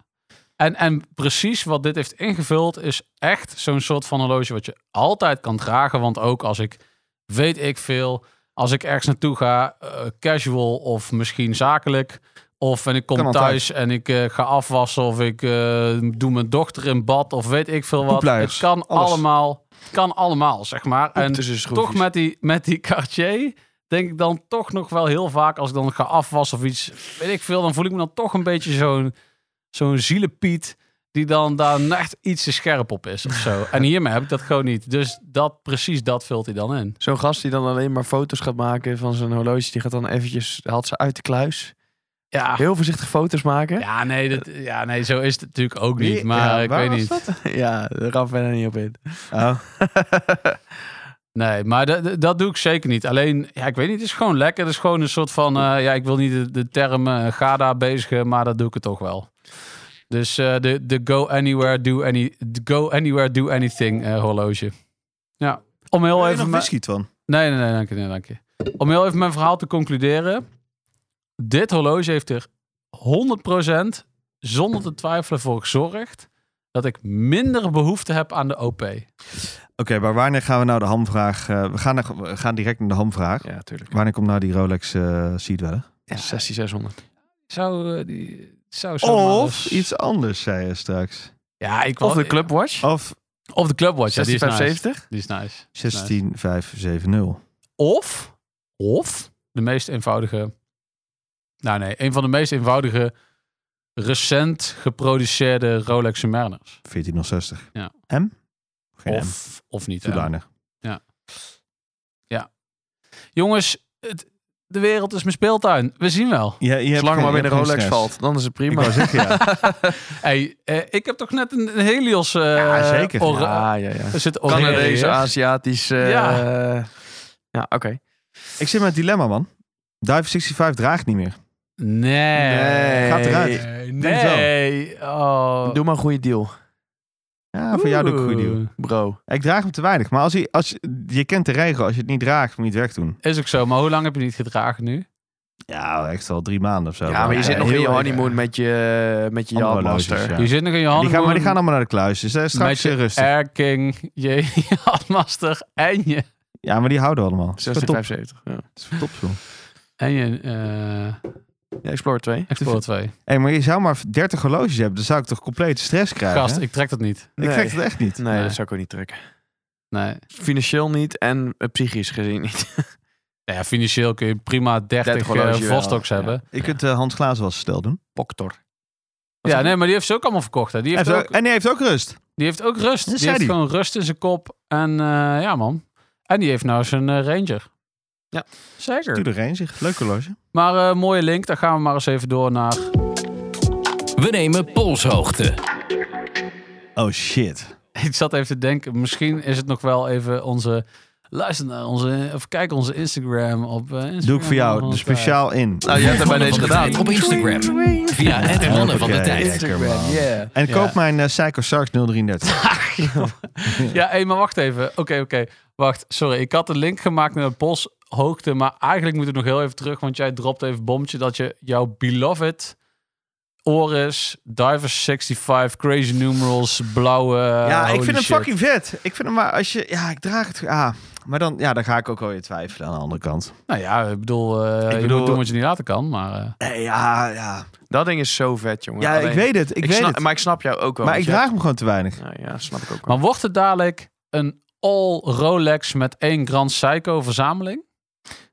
B: En, en precies wat dit heeft ingevuld is echt zo'n soort van horloge wat je altijd kan dragen. Want ook als ik, weet ik veel, als ik ergens naartoe ga, eh, casual of misschien zakelijk. Of en ik kom
C: Kan altijd.
B: thuis en ik eh, ga afwassen of ik eh, doe mijn dochter in bad of weet ik veel wat.
C: Poepluiers,
B: het kan
C: alles.
B: allemaal, het kan allemaal zeg maar.
E: En
B: En
E: tussen schroefjes.
B: toch met die, met die Cartier denk ik dan toch nog wel heel vaak als ik dan ga afwassen of iets, weet ik veel, dan voel ik me dan toch een beetje zo'n zo'n zielepiet die dan daar net iets te scherp op is of zo. En hiermee heb ik dat gewoon niet. Dus dat, precies dat vult hij dan in.
E: Zo'n gast die dan alleen maar foto's gaat maken van zijn horloge, die gaat dan eventjes, haalt ze uit de kluis.
B: Ja,
E: Heel voorzichtig foto's maken.
B: ja, nee, dat, ja nee, zo is het natuurlijk ook niet.
C: Wie-
B: Maar
C: ja,
B: ik
C: waar
B: weet
C: was
B: niet.
C: dat?
E: Ja, daar gaan we verder niet op in.
C: Oh.
B: Nee, maar dat- dat- dat doe ik zeker niet. Alleen, ja, ik weet niet, het is gewoon lekker. Het is gewoon een soort van, eh, ja, ik wil niet de, de term eh, ga daar bezigen, maar dat doe ik het toch wel. Dus eh, de, de go anywhere, do any, de go anywhere, do anything eh, horloge. Ja, om heel
C: Wil je
B: even...
C: nog
B: mijn-
C: whisky van.
B: Nee, nee, nee, dank je, nee, dank je. Om heel even mijn verhaal te concluderen. Dit horloge heeft er 100% zonder te twijfelen voor gezorgd dat ik minder behoefte heb aan de OP.
C: Oké, maar wanneer gaan we nou de hamvraag... eh, we, gaan naar- we gaan direct naar de hamvraag.
E: Ja, tuurlijk.
C: Wanneer komt nou die Rolex eh Seedweller?
E: 6600.
B: Zou eh, die zou zomaar
C: Of
B: eens-
C: iets anders, zei je straks.
B: Ja, ik
E: Of
B: wou-
E: de Clubwatch.
C: Of
B: Of de Clubwatch. Ja, die is nice.
E: 6570.
B: Die is nice.
C: 16570.
B: Of, of de meest eenvoudige. Nou nee, een van de meest eenvoudige recent geproduceerde Rolex Submariners.
C: 1460.
B: Ja.
C: M? Geen M.
B: Of, of niet. hè.
C: Two-liner.
B: Jongens, het, de wereld is mijn speeltuin. We zien wel.
C: Ja, je hebt
E: Zolang
C: geen-
E: het maar
C: je
E: binnen
C: hebt geen
E: Rolex
C: stress.
E: valt, dan is het
C: Ik
E: prima.
C: wou zeggen, ja.
B: Hey, eh, ik heb toch net een, een Helios. eh
C: Ja, zeker.
B: ora-
E: ja, ja, ja.
B: Er zit oranje
E: Canadese,
B: in.
E: Aziatisch. eh,
B: Ja.
E: Ja, oké.
C: Ik zit met het dilemma, man. Dive 65 draagt niet meer.
B: Nee.
E: Nee. Gaat eruit.
B: Nee.
C: Doe het wel.
B: nee. Oh.
E: Doe maar een goede deal,
C: Ja, Nou, voor jou doe ik een goede deal.
B: Oeh.
E: bro.
C: Ik draag hem te weinig. Maar als je, als je, je kent de regel. Als je het niet draagt, moet je het wegdoen.
B: Is ook zo, maar hoe lang heb je niet gedragen nu?
C: Ja, echt al drie maanden of zo.
E: Ja, maar je
B: ja,
E: zit nog in
C: heel
E: je
C: erg.
E: honeymoon met je, eh, met je
C: Andere
E: Yardmaster.
C: horloges, ja.
B: Je zit nog in je handen.
C: Die gaan, maar die gaan allemaal naar de kluis. Dus eh,
B: met
C: straks
B: je
C: rustig.
B: Erking, je handmaster en je...
C: Ja, maar die houden we allemaal. Dat is wel top.
E: 1675. Ja.
C: Dat is wel top, joh.
B: En je eh
E: Ja, Explorer 2.
B: Explorer 2.
C: Hey, maar je zou maar 30 horloges hebben. Dan zou ik toch compleet stress krijgen?
B: Gast,
C: hè?
B: ik trek dat niet.
C: ik trek het echt niet.
E: Nee,
B: Nee.
E: dat zou ik ook niet trekken.
B: Nee.
E: Financieel niet en eh, psychisch gezien niet.
B: Nou ja, financieel kun je prima 30
E: 30 horloge
B: eh
E: wel.
B: Vostoks
E: Ja.
B: hebben.
C: Je kunt eh, Hans Glazen was stel doen.
E: Poktor.
B: Ja, nee, maar die heeft ze ook allemaal verkocht. Hè. Die, heeft
C: Even-
B: ook,
C: En die heeft ook rust.
B: die heeft ook rust.
C: Dat
B: Die
C: zei
B: heeft
C: die.
B: gewoon rust in zijn kop. En eh, ja, man. En die heeft nou zijn eh, Ranger.
E: Ja.
B: Zeker.
C: Doe er een, zich. Leuk horloge.
B: Maar eh, mooie link, daar gaan we maar eens even door naar.
D: We nemen polshoogte.
C: Oh shit.
B: Ik zat even te denken, misschien is het nog wel even onze. Luister naar onze. Of kijk onze Instagram op. eh, Instagram
C: Doe ik voor jou.
B: Mannen
C: Er
B: van de Tijd.
C: speciaal in.
E: Nou, je hebt het bij
D: Mannen
E: deze
D: van de
E: gedaan.
D: Tijd op Instagram. Via het Mannen van de
C: Hoppakee.
D: Tijd.
C: man.
B: Instagram, yeah.
C: En
B: Ja.
C: koop mijn eh, Psycho Sarks 033.
B: Ja, hé, maar wacht even. Oké, oké. Wacht, sorry. Ik had de link gemaakt naar de polshoogte. Maar eigenlijk moet ik nog heel even terug. Want jij dropt even bommetje dat je jouw beloved. Oris, Divers 65, Crazy Numerals, blauwe.
C: ja, ik
B: holy
C: vind hem
B: shit.
C: fucking vet. Ik vind hem maar als je... Ja, ik draag het... Ah, maar dan, ja, dan ga ik ook alweer twijfelen aan de andere kant.
B: Nou ja, ik bedoel, eh, je
C: bedoel-
B: moet doen wat je niet laten kan. Maar eh,
C: Eh, ja, ja.
E: Dat ding is zo vet, jongen.
C: Ja, ik
E: Alleen-
C: weet het. Ik, weet
E: snap,
C: het. Maar,
E: Maar ik snap jou ook wel.
C: ik
E: want
C: draag
E: jij-
C: hem gewoon te weinig.
E: Ja, ja, snap ik ook wel.
B: Maar wordt het dadelijk een all Rolex met één Grand Seiko verzameling?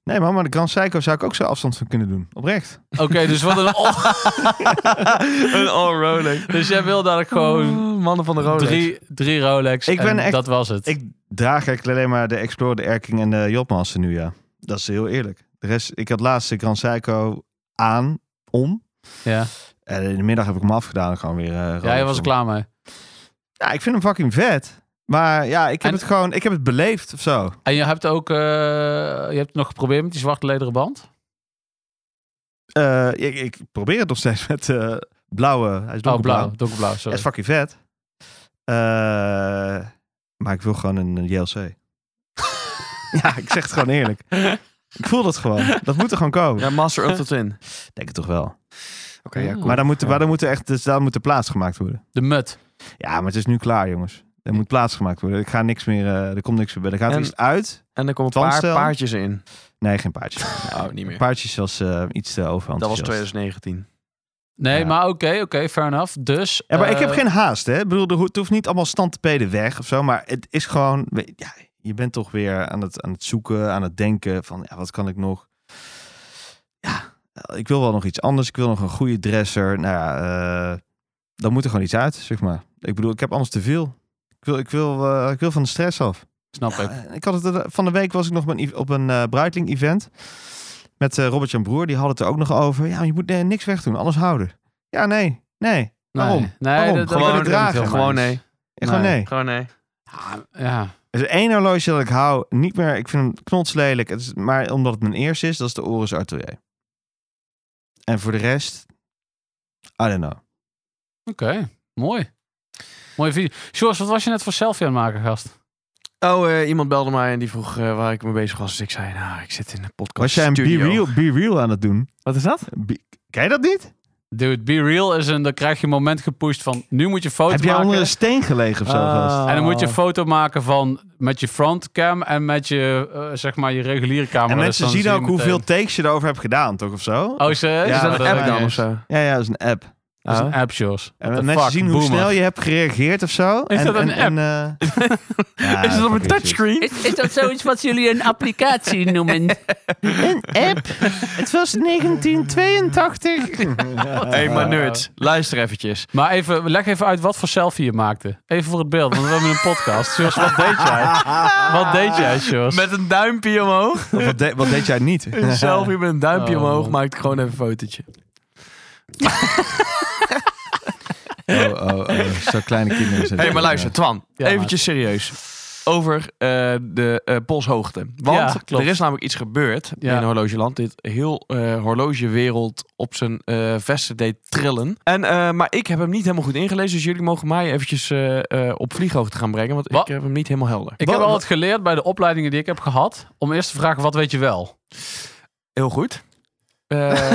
C: Nee, man, maar de Grand Psycho zou ik ook zo afstand van kunnen doen. Oprecht.
B: Oké, dus wat een all-
E: een all Rolex.
B: Dus jij wil dadelijk gewoon
E: Oh, mannen van de Rolex.
B: drie, drie Rolex.
C: Ik ben
B: en
C: echt-
B: Dat was het.
C: Ik draag eigenlijk alleen maar de Explorer, de Erking en de Jobmaster nu, ja. Dat is heel eerlijk. De rest, ik had laatst de Grand Psycho aan, om.
B: Ja.
C: En in de middag heb ik hem afgedaan en gewoon weer... eh, rood
B: ja, je was
C: om.
B: er klaar mee.
C: Ja, ik vind hem fucking vet. Maar ja, ik heb
B: En-
C: het gewoon... Ik heb het beleefd of zo.
B: En je hebt ook eh, je hebt het nog geprobeerd met die zwarte lederen band. Oh,
C: Eh, ik, ik probeer het nog steeds met eh, blauwe. Hij is
B: Oh, blauw.
C: donkerblauw.
B: Donkerblauw,
C: Hij
B: sorry.
C: is fucking vet. Eh, maar ik wil gewoon een eh, JLC. ja, ik zeg het gewoon eerlijk. Ik voel dat gewoon. Dat moet er gewoon komen.
E: Ja, Master up tot in. Oké,
C: Denk het toch wel.
E: ja, cool.
C: Maar dan moet, er-
E: Ja.
C: maar dan moet er echt dus daar moet er plaats gemaakt worden.
B: De mut.
C: Ja, maar het is nu klaar, jongens. Er moet plaats gemaakt worden. Ik ga niks meer, eh, er komt niks meer bij. Er gaat
E: En-
C: iets uit.
E: En er komen een paar
C: Twandstel.
E: paardjes in.
C: Nee, geen paardje.
E: Nou, niet meer.
C: Paardjes was eh, iets te over.
E: Dat was 2019.
B: Nee,
C: Ja.
B: maar oké, oké, fair enough. Dus.
C: Ja, maar ik heb
B: eh,
C: geen haast, hè? Ik bedoel, er ho- het hoeft niet allemaal stand te peden weg of zo. Maar het is gewoon... we- Ja, je bent toch weer aan het, aan het zoeken, aan het denken van... Ja, wat kan ik nog? Ja, eh, ik wil wel nog iets anders. Ik wil nog een goede dresser. Nou ja, eh, dan moet er gewoon iets uit, zeg maar. Ik bedoel, ik heb anders te veel. Ik wil, ik wil, eh, ik wil van de stress af.
B: Snap ik.
C: Ja, ik had het, er- van de week was ik nog op een, op een eh, bruidling-event met eh, Robert Jan Broer. Die had het er ook nog over. Ja, je moet eh, niks wegdoen, alles houden. Ja, nee, nee.
B: Nee.
C: Waarom?
B: Nee,
C: Waarom?
B: dat- dat
C: Gewoon
B: ben ik
C: dragen.
B: niet helemaal
E: Gewoon
B: eens.
E: nee.
C: Ja, Gewoon
B: Nee.
C: nee.
E: Gewoon nee.
B: Ja.
C: Er is één horloge dat ik hou. Niet meer, ik vind hem knotslelijk. Het is, maar omdat het mijn eerste is, dat is de Oris Atelier. En voor de rest, I don't know.
B: Oké, mooi. Mooie video. Sjors, wat was je net voor selfie aan het maken, gast?
E: Oh, eh, iemand belde mij en die vroeg eh, waar ik mee bezig was. Dus ik zei, nou, ik zit in de podcast
C: Was jij een
E: studio.
C: B-Real Be Real aan het doen?
E: Wat is dat?
C: Be- Ken je dat niet?
B: Dude, be real is een, dan krijg je een moment gepusht van, nu moet je een foto
C: Heb jij
B: maken. Ah.
C: onder een steen gelegen of zo? gast?
B: En dan moet je een foto maken van, met je frontcam en met je, eh, zeg maar, je reguliere camera.
C: en
B: Dus
C: mensen
B: dan
C: zien
B: je
C: ook
B: meteen-
C: hoeveel takes je erover hebt gedaan, toch? Of zo?
B: Oh, serieus?
C: Ja,
E: is dat
C: dat
E: een
C: weet
E: app
C: ik
E: dan
C: niet.
E: of zo?
C: Ja, ja, dat is een app.
B: Dat is
E: Oh.
B: een app, Sjors.
C: Ah. En
B: Ah. What the
C: mensen
B: fuck,
C: zien hoe
B: boomer.
C: snel je hebt gereageerd of zo.
B: Is
C: en,
B: dat
C: en-
B: een
C: en, eh, ja,
E: is dat op een
C: fucking
E: touchscreen?
F: Is, is dat zoiets wat jullie een applicatie noemen?
C: Een app? Het was 1982.
E: Hé, hey, maar nerds, luister eventjes.
B: Maar even, leg even uit wat voor selfie je maakte. Even voor het beeld, want we hebben een podcast. Sjors, wat deed jij? Wat deed jij, Sjors?
E: Met een duimpje omhoog.
C: wat, de- wat deed jij niet?
E: Een selfie met een duimpje
B: Oh,
E: omhoog
B: man.
E: maak ik gewoon even een fotootje.
C: Oh, oh, oh. Zo kleine kinderen zijn.
E: Hé, hey, maar luister, Twan.
B: Ja,
E: eventjes serieus. Over eh, de eh, polshoogte. Want
B: Ja, klopt.
E: er is namelijk iets gebeurd
B: Ja.
E: in Horlogeland. Dit heel eh, horlogewereld op zijn eh, vesten deed trillen. En, eh, maar ik heb hem niet helemaal goed ingelezen. Dus jullie mogen mij eventjes eh, eh, op vlieghoogte gaan brengen. Want
B: Wat?
E: ik heb hem niet helemaal helder.
B: Ik
C: Wat-
B: heb
C: wat-
B: altijd geleerd bij de opleidingen die ik heb gehad, om eerst te vragen, wat weet je wel?
E: Heel goed. Eh,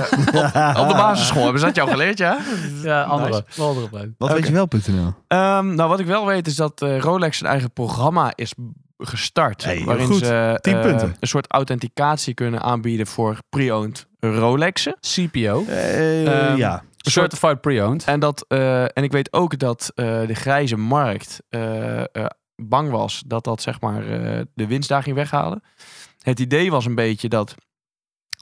E: op de basisschool hebben ze dat jou geleerd, ja?
B: Ja, andere. Wel andere opleiding.
C: Wat weet je wel.nl?
E: Ehm, nou, wat ik wel weet is dat eh, Rolex zijn eigen programma is gestart.
C: Hey,
E: waarin
C: goed.
E: ze
C: Tien
E: eh,
C: punten.
E: een soort authenticatie kunnen aanbieden voor pre-owned Rolexen.
B: CPO.
C: Eh,
B: Ehm,
C: ja.
B: Certified Pre-Owned.
E: En, dat, eh, en ik weet ook dat eh, de grijze markt eh, eh, bang was dat dat zeg maar eh, de winst daar ging weghalen. Het idee was een beetje dat,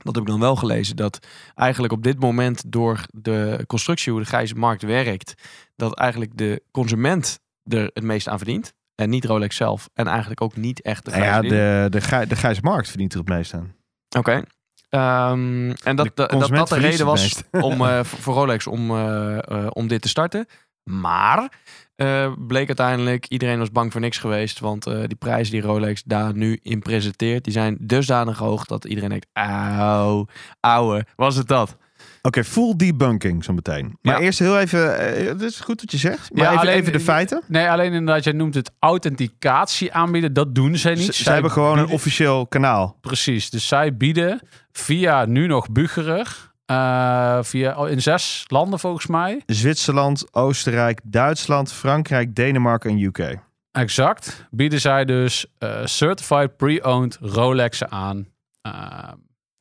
E: dat heb ik dan wel gelezen, dat eigenlijk op dit moment door de constructie hoe de grijze markt werkt, dat eigenlijk de consument er het meest aan verdient. En niet Rolex zelf. En eigenlijk ook niet echt de
C: Nou
E: grijze
C: ja,
E: dealer.
C: de, de, gij, de grijze markt verdient er het meest aan.
E: Oké. Ehm, en dat
C: De
E: dat- dat,
C: consument
E: dat de
C: verliest
E: reden
C: het
E: was om, eh, voor voor Rolex om, eh, eh, om dit te starten. Maar eh, bleek uiteindelijk, iedereen was bang voor niks geweest. Want eh, die prijzen die Rolex daar nu in presenteert, die zijn dusdanig hoog dat iedereen denkt, auw, ouwe, was het dat?
C: Oké, full debunking zo meteen. Maar
E: Ja.
C: eerst heel even, eh, het is goed wat je zegt, maar
B: Ja,
C: even,
B: alleen-
C: even de feiten.
B: Nee, alleen inderdaad, jij noemt het authenticatie aanbieden. Dat doen zij niet.
C: Ze, ze hebben gewoon een
B: bieden-
C: officieel kanaal.
B: Precies. Dus zij bieden via nu nog Bucherer, eh, via, oh, in zes landen volgens mij,
C: Zwitserland, Oostenrijk, Duitsland, Frankrijk, Denemarken en UK.
B: exact, bieden zij dus eh, certified pre-owned Rolexen aan. eh,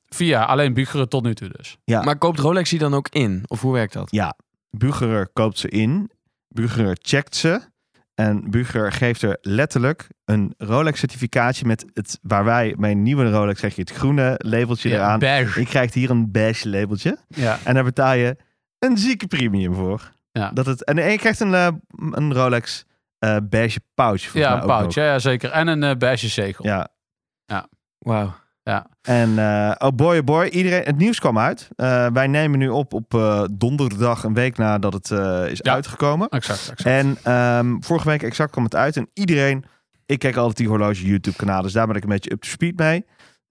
B: via alleen Bucherer tot nu toe dus.
C: Ja.
E: Maar koopt Rolex die dan ook in? Of hoe werkt dat?
C: Bucherer koopt ze in. Bucherer checkt ze. En Bucherer geeft er letterlijk een Rolex-certificaatje met het, waar wij mijn nieuwe Rolex krijg je het groene labeltje eraan.
B: badge.
C: Je krijgt hier een beige labeltje.
B: Ja.
C: En daar betaal je een zieke premium voor.
B: Ja.
C: Dat het, en, en je krijgt een, eh, een Rolex eh beige pouch. volgens
B: Ja,
C: mij
B: een
C: ook nog.
B: pouch. Ja, ja, zeker. En een eh beige zegel.
C: Ja.
E: Wauw.
C: En eh, oh boy, oh boy, iedereen, het nieuws kwam uit. Eh, wij nemen nu op op eh, donderdag, een week nadat het eh, is
B: Ja.
C: uitgekomen.
B: Exact, exact.
C: En ehm, vorige week exact kwam het uit. En iedereen, ik kijk altijd die horloge YouTube kanaal, dus daar ben ik een beetje up to speed mee.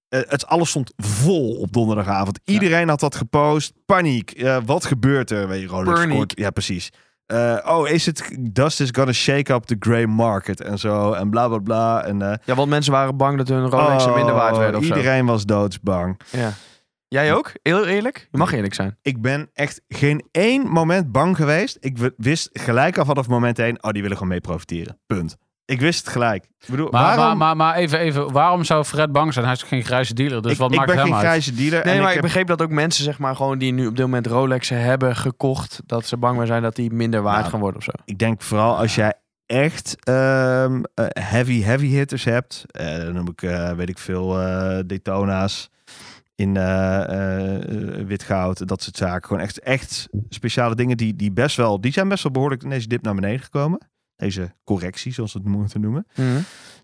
C: Eh, het alles stond vol op donderdagavond. Iedereen had dat gepost. Paniek. Eh, wat gebeurt er? Weet je, Rolex
E: Paniek.
C: scoort- Ja, precies. Eh, oh, is het dust is gonna shake up the grey market en zo en bla bla bla en eh,
E: Ja, want mensen waren bang dat hun Rolex
C: oh,
E: minder waard werden of zo.
C: iedereen was doodsbang.
E: Ja. Jij ook? Heel eerlijk? Je mag eerlijk zijn.
C: Ik ben echt geen één moment bang geweest. Ik w- wist gelijk al vanaf moment één... oh, die willen gewoon mee profiteren. Punt. Ik wist het gelijk. Ik bedoel,
B: maar, maar,
C: waarom...
B: maar, maar even, even, waarom zou Fred bang zijn? Hij is toch geen grijze dealer, dus
C: ik,
B: wat
C: ik
B: maakt
C: ben
B: hem
C: geen
B: uit?
C: grijze dealer.
E: Nee, maar
C: en ik
E: ik
C: heb-
E: begreep dat ook mensen, zeg maar, gewoon die nu op dit moment Rolexen hebben gekocht, dat ze bang zijn dat die minder waard
C: Nou,
E: gaan worden of zo.
C: ik denk vooral als jij echt ehm, eh, heavy, heavy hitters hebt... eh, dan noem ik, eh, weet ik veel, eh, Daytona's in eh, eh, wit goud, dat soort zaken. Gewoon echt, echt speciale dingen die, die best wel... die zijn best wel behoorlijk in deze dip naar beneden gekomen. Deze correctie, zoals we het moeten noemen.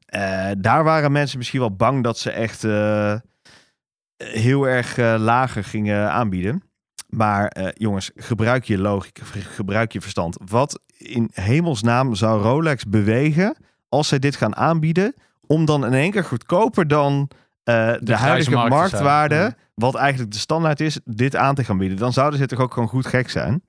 C: Eh, daar waren mensen misschien wel bang dat ze echt eh, heel erg eh, lager gingen aanbieden. Maar eh, jongens, gebruik je logica, ge- gebruik je verstand. Wat in hemelsnaam zou Rolex bewegen als zij dit gaan aanbieden, om dan in één keer goedkoper dan eh, de,
B: grijze
C: huidige
B: markt te zijn.
C: marktwaarde,
B: Ja.
C: wat eigenlijk de standaard is, dit aan te gaan bieden? Dan zouden ze toch ook gewoon goed gek zijn.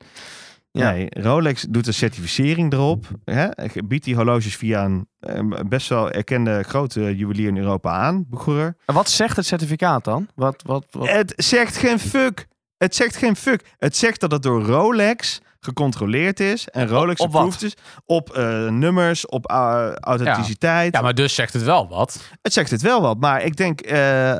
E: Ja.
C: Nee, Rolex doet een certificering erop. Hè? Biedt die horloges via een eh, best wel erkende grote juwelier in Europa aan, Bucherer.
E: En wat zegt het certificaat dan? Wat, wat, wat?
C: Het zegt geen fuck. Het zegt geen fuck. Het zegt dat het door Rolex gecontroleerd is en Rolex
E: op wat?
C: approved is op eh, nummers, op eh, authenticiteit.
B: Ja, maar dus zegt het wel wat.
C: Het zegt het wel wat, maar ik denk eh,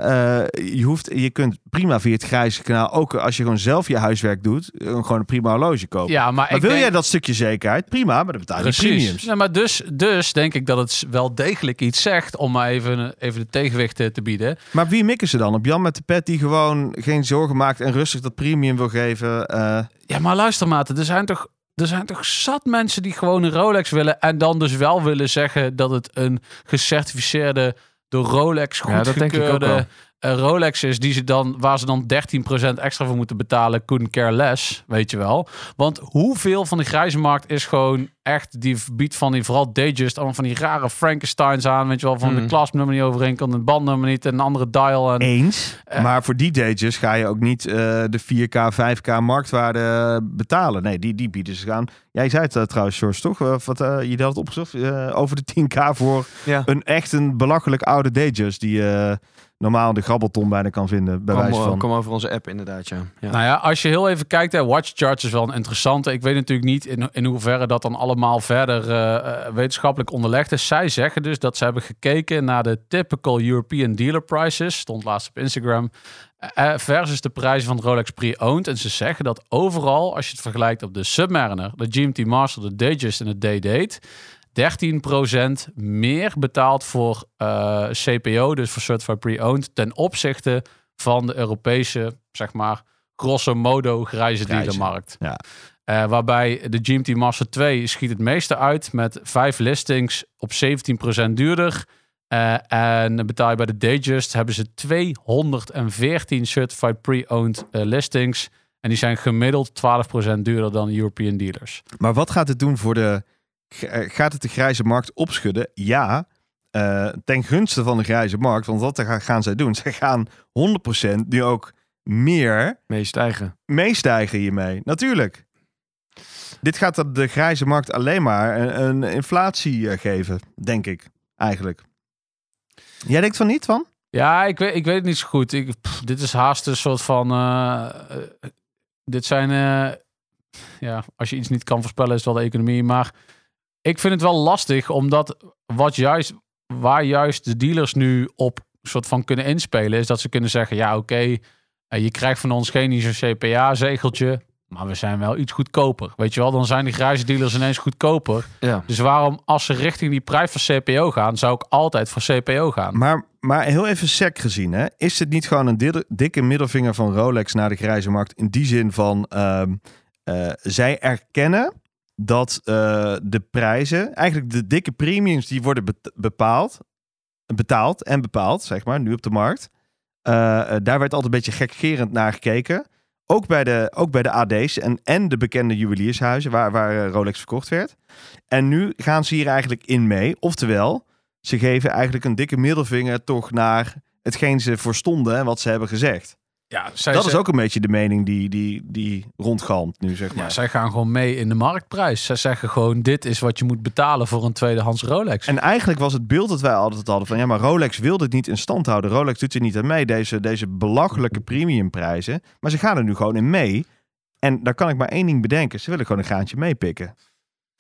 C: eh, je hoeft, je kunt prima via het grijze kanaal ook als je gewoon zelf je huiswerk doet, eh, gewoon een prima horloge kopen.
B: Ja, maar,
C: Oh. Maar
B: ik
C: wil
B: denk-
C: jij dat stukje zekerheid? Prima, maar dan betaal je die premiums.
B: Ja, maar dus, dus denk ik dat het wel degelijk iets zegt om maar even, even de tegenwicht te, te bieden.
C: Maar wie mikken ze dan? Op Jan met de pet die gewoon geen zorgen maakt en rustig dat premium wil geven. eh,
B: Ja, maar luister maten, er zijn toch, er zijn toch zat mensen die gewoon een Rolex willen en dan dus wel willen zeggen dat het een gecertificeerde door Rolex
E: Ja, dat denk ik ook
B: goedgekeurde
E: wel.
B: eh, Rolex is die ze dan, waar ze dan 13% extra voor moeten betalen, couldn't care less, weet je wel. Want hoeveel van de grijze markt is gewoon echt, die biedt van die vooral Datejust, allemaal van die rare Frankensteins aan, weet je wel, van de
E: Mm.
B: klasnummer niet overeen kan, de bandnummer niet en een andere dial. En,
C: Eens.
B: Eh.
C: maar voor die datjes ga je ook niet eh, de 4K, 5K marktwaarde betalen. Nee, die, die bieden ze aan. Jij zei het eh, trouwens, George, toch? Eh, wat, eh, je had het opgezocht eh, over de 10K voor
E: Ja.
C: een echt een belachelijk oude datjes die, eh, normaal de grabbelton bijna kan vinden. Bij
E: Kom,
C: wijze
E: eh,
C: van.
E: kom over onze app inderdaad, ja. ja.
B: Nou ja, als je heel even kijkt, hè, Watch Charts is wel een interessante. Ik weet natuurlijk niet in, in hoeverre dat dan allemaal verder eh, eh, wetenschappelijk onderlegd is. Zij zeggen dus dat ze hebben gekeken naar de typical European dealer prices, stond laatst op Instagram, eh, eh, versus de prijzen van Rolex pre-owned. En ze zeggen dat overal, als je het vergelijkt op de Submariner, de GMT Marshall, de Datejust en de Day-Date, 13% meer betaald voor eh, CPO, dus voor Certified Pre-Owned, ten opzichte van de Europese, zeg maar, grosso modo grijze
C: Grijze,
B: dealermarkt.
C: ja.
B: Eh, waarbij de GMT Master 2 schiet het meeste uit met vijf listings op 17% duurder. Eh, en betaal je bij de Dayjust hebben ze 214 certified pre-owned eh, listings. En die zijn gemiddeld 12% duurder dan European dealers.
C: Maar wat gaat het doen voor de. g- eh, Gaat het de grijze markt opschudden? Ja. eh, ten gunste van de grijze markt. Want wat ga- gaan zij doen? Zij gaan 100% nu ook meer
E: Meest eigen.
C: meestijgen hiermee. Natuurlijk. Dit gaat de- de grijze markt alleen maar een, een inflatie eh, geven, denk ik. Eigenlijk. Jij denkt van niet, van?
B: Ja, ik weet, ik weet het niet zo goed. Ik, pff, dit is haast een soort van. eh, eh, dit zijn. eh, ja, als je iets niet kan voorspellen, is het wel de economie. Maar ik vind het wel lastig, omdat wat juist, waar juist de dealers nu op soort van kunnen inspelen, is dat ze kunnen zeggen: ja, oké, eh, je krijgt van ons geen zo'n CPA-zegeltje. Maar we zijn wel iets goedkoper. Weet je wel, dan zijn die grijze dealers ineens goedkoper.
E: Ja.
B: Dus waarom, als ze richting die prijs van CPO gaan, zou ik altijd voor CPO gaan?
C: Maar, maar heel even sec gezien, hè? is dit niet gewoon een dille- dikke middelvinger van Rolex naar de grijze markt? In die zin van, ehm, eh, zij erkennen dat eh, de prijzen, eigenlijk de dikke premiums die worden bet- bepaald, betaald en bepaald, zeg maar, nu op de markt. eh, eh, daar werd altijd een beetje gekgerend naar gekeken. Ook bij de, ook bij de AD's en, en de bekende juweliershuizen waar, waar eh, Rolex verkocht werd. En nu gaan ze hier eigenlijk in mee. Oftewel, ze geven eigenlijk een dikke middelvinger toch naar hetgeen ze voorstonden en wat ze hebben gezegd.
B: Ja,
C: dat is ook een beetje de mening die, die, die rondgalmt nu, zeg
B: Ja,
C: maar.
B: zij gaan gewoon mee in de marktprijs. Zij zeggen gewoon, dit is wat je moet betalen voor een tweedehands Rolex.
C: en eigenlijk was het beeld dat wij altijd hadden van ja, maar Rolex wil dit niet in stand houden. Rolex doet er niet aan mee, deze, deze belachelijke premiumprijzen. Maar ze gaan er nu gewoon in mee. En daar kan ik maar één ding bedenken. Ze willen gewoon een graantje meepikken.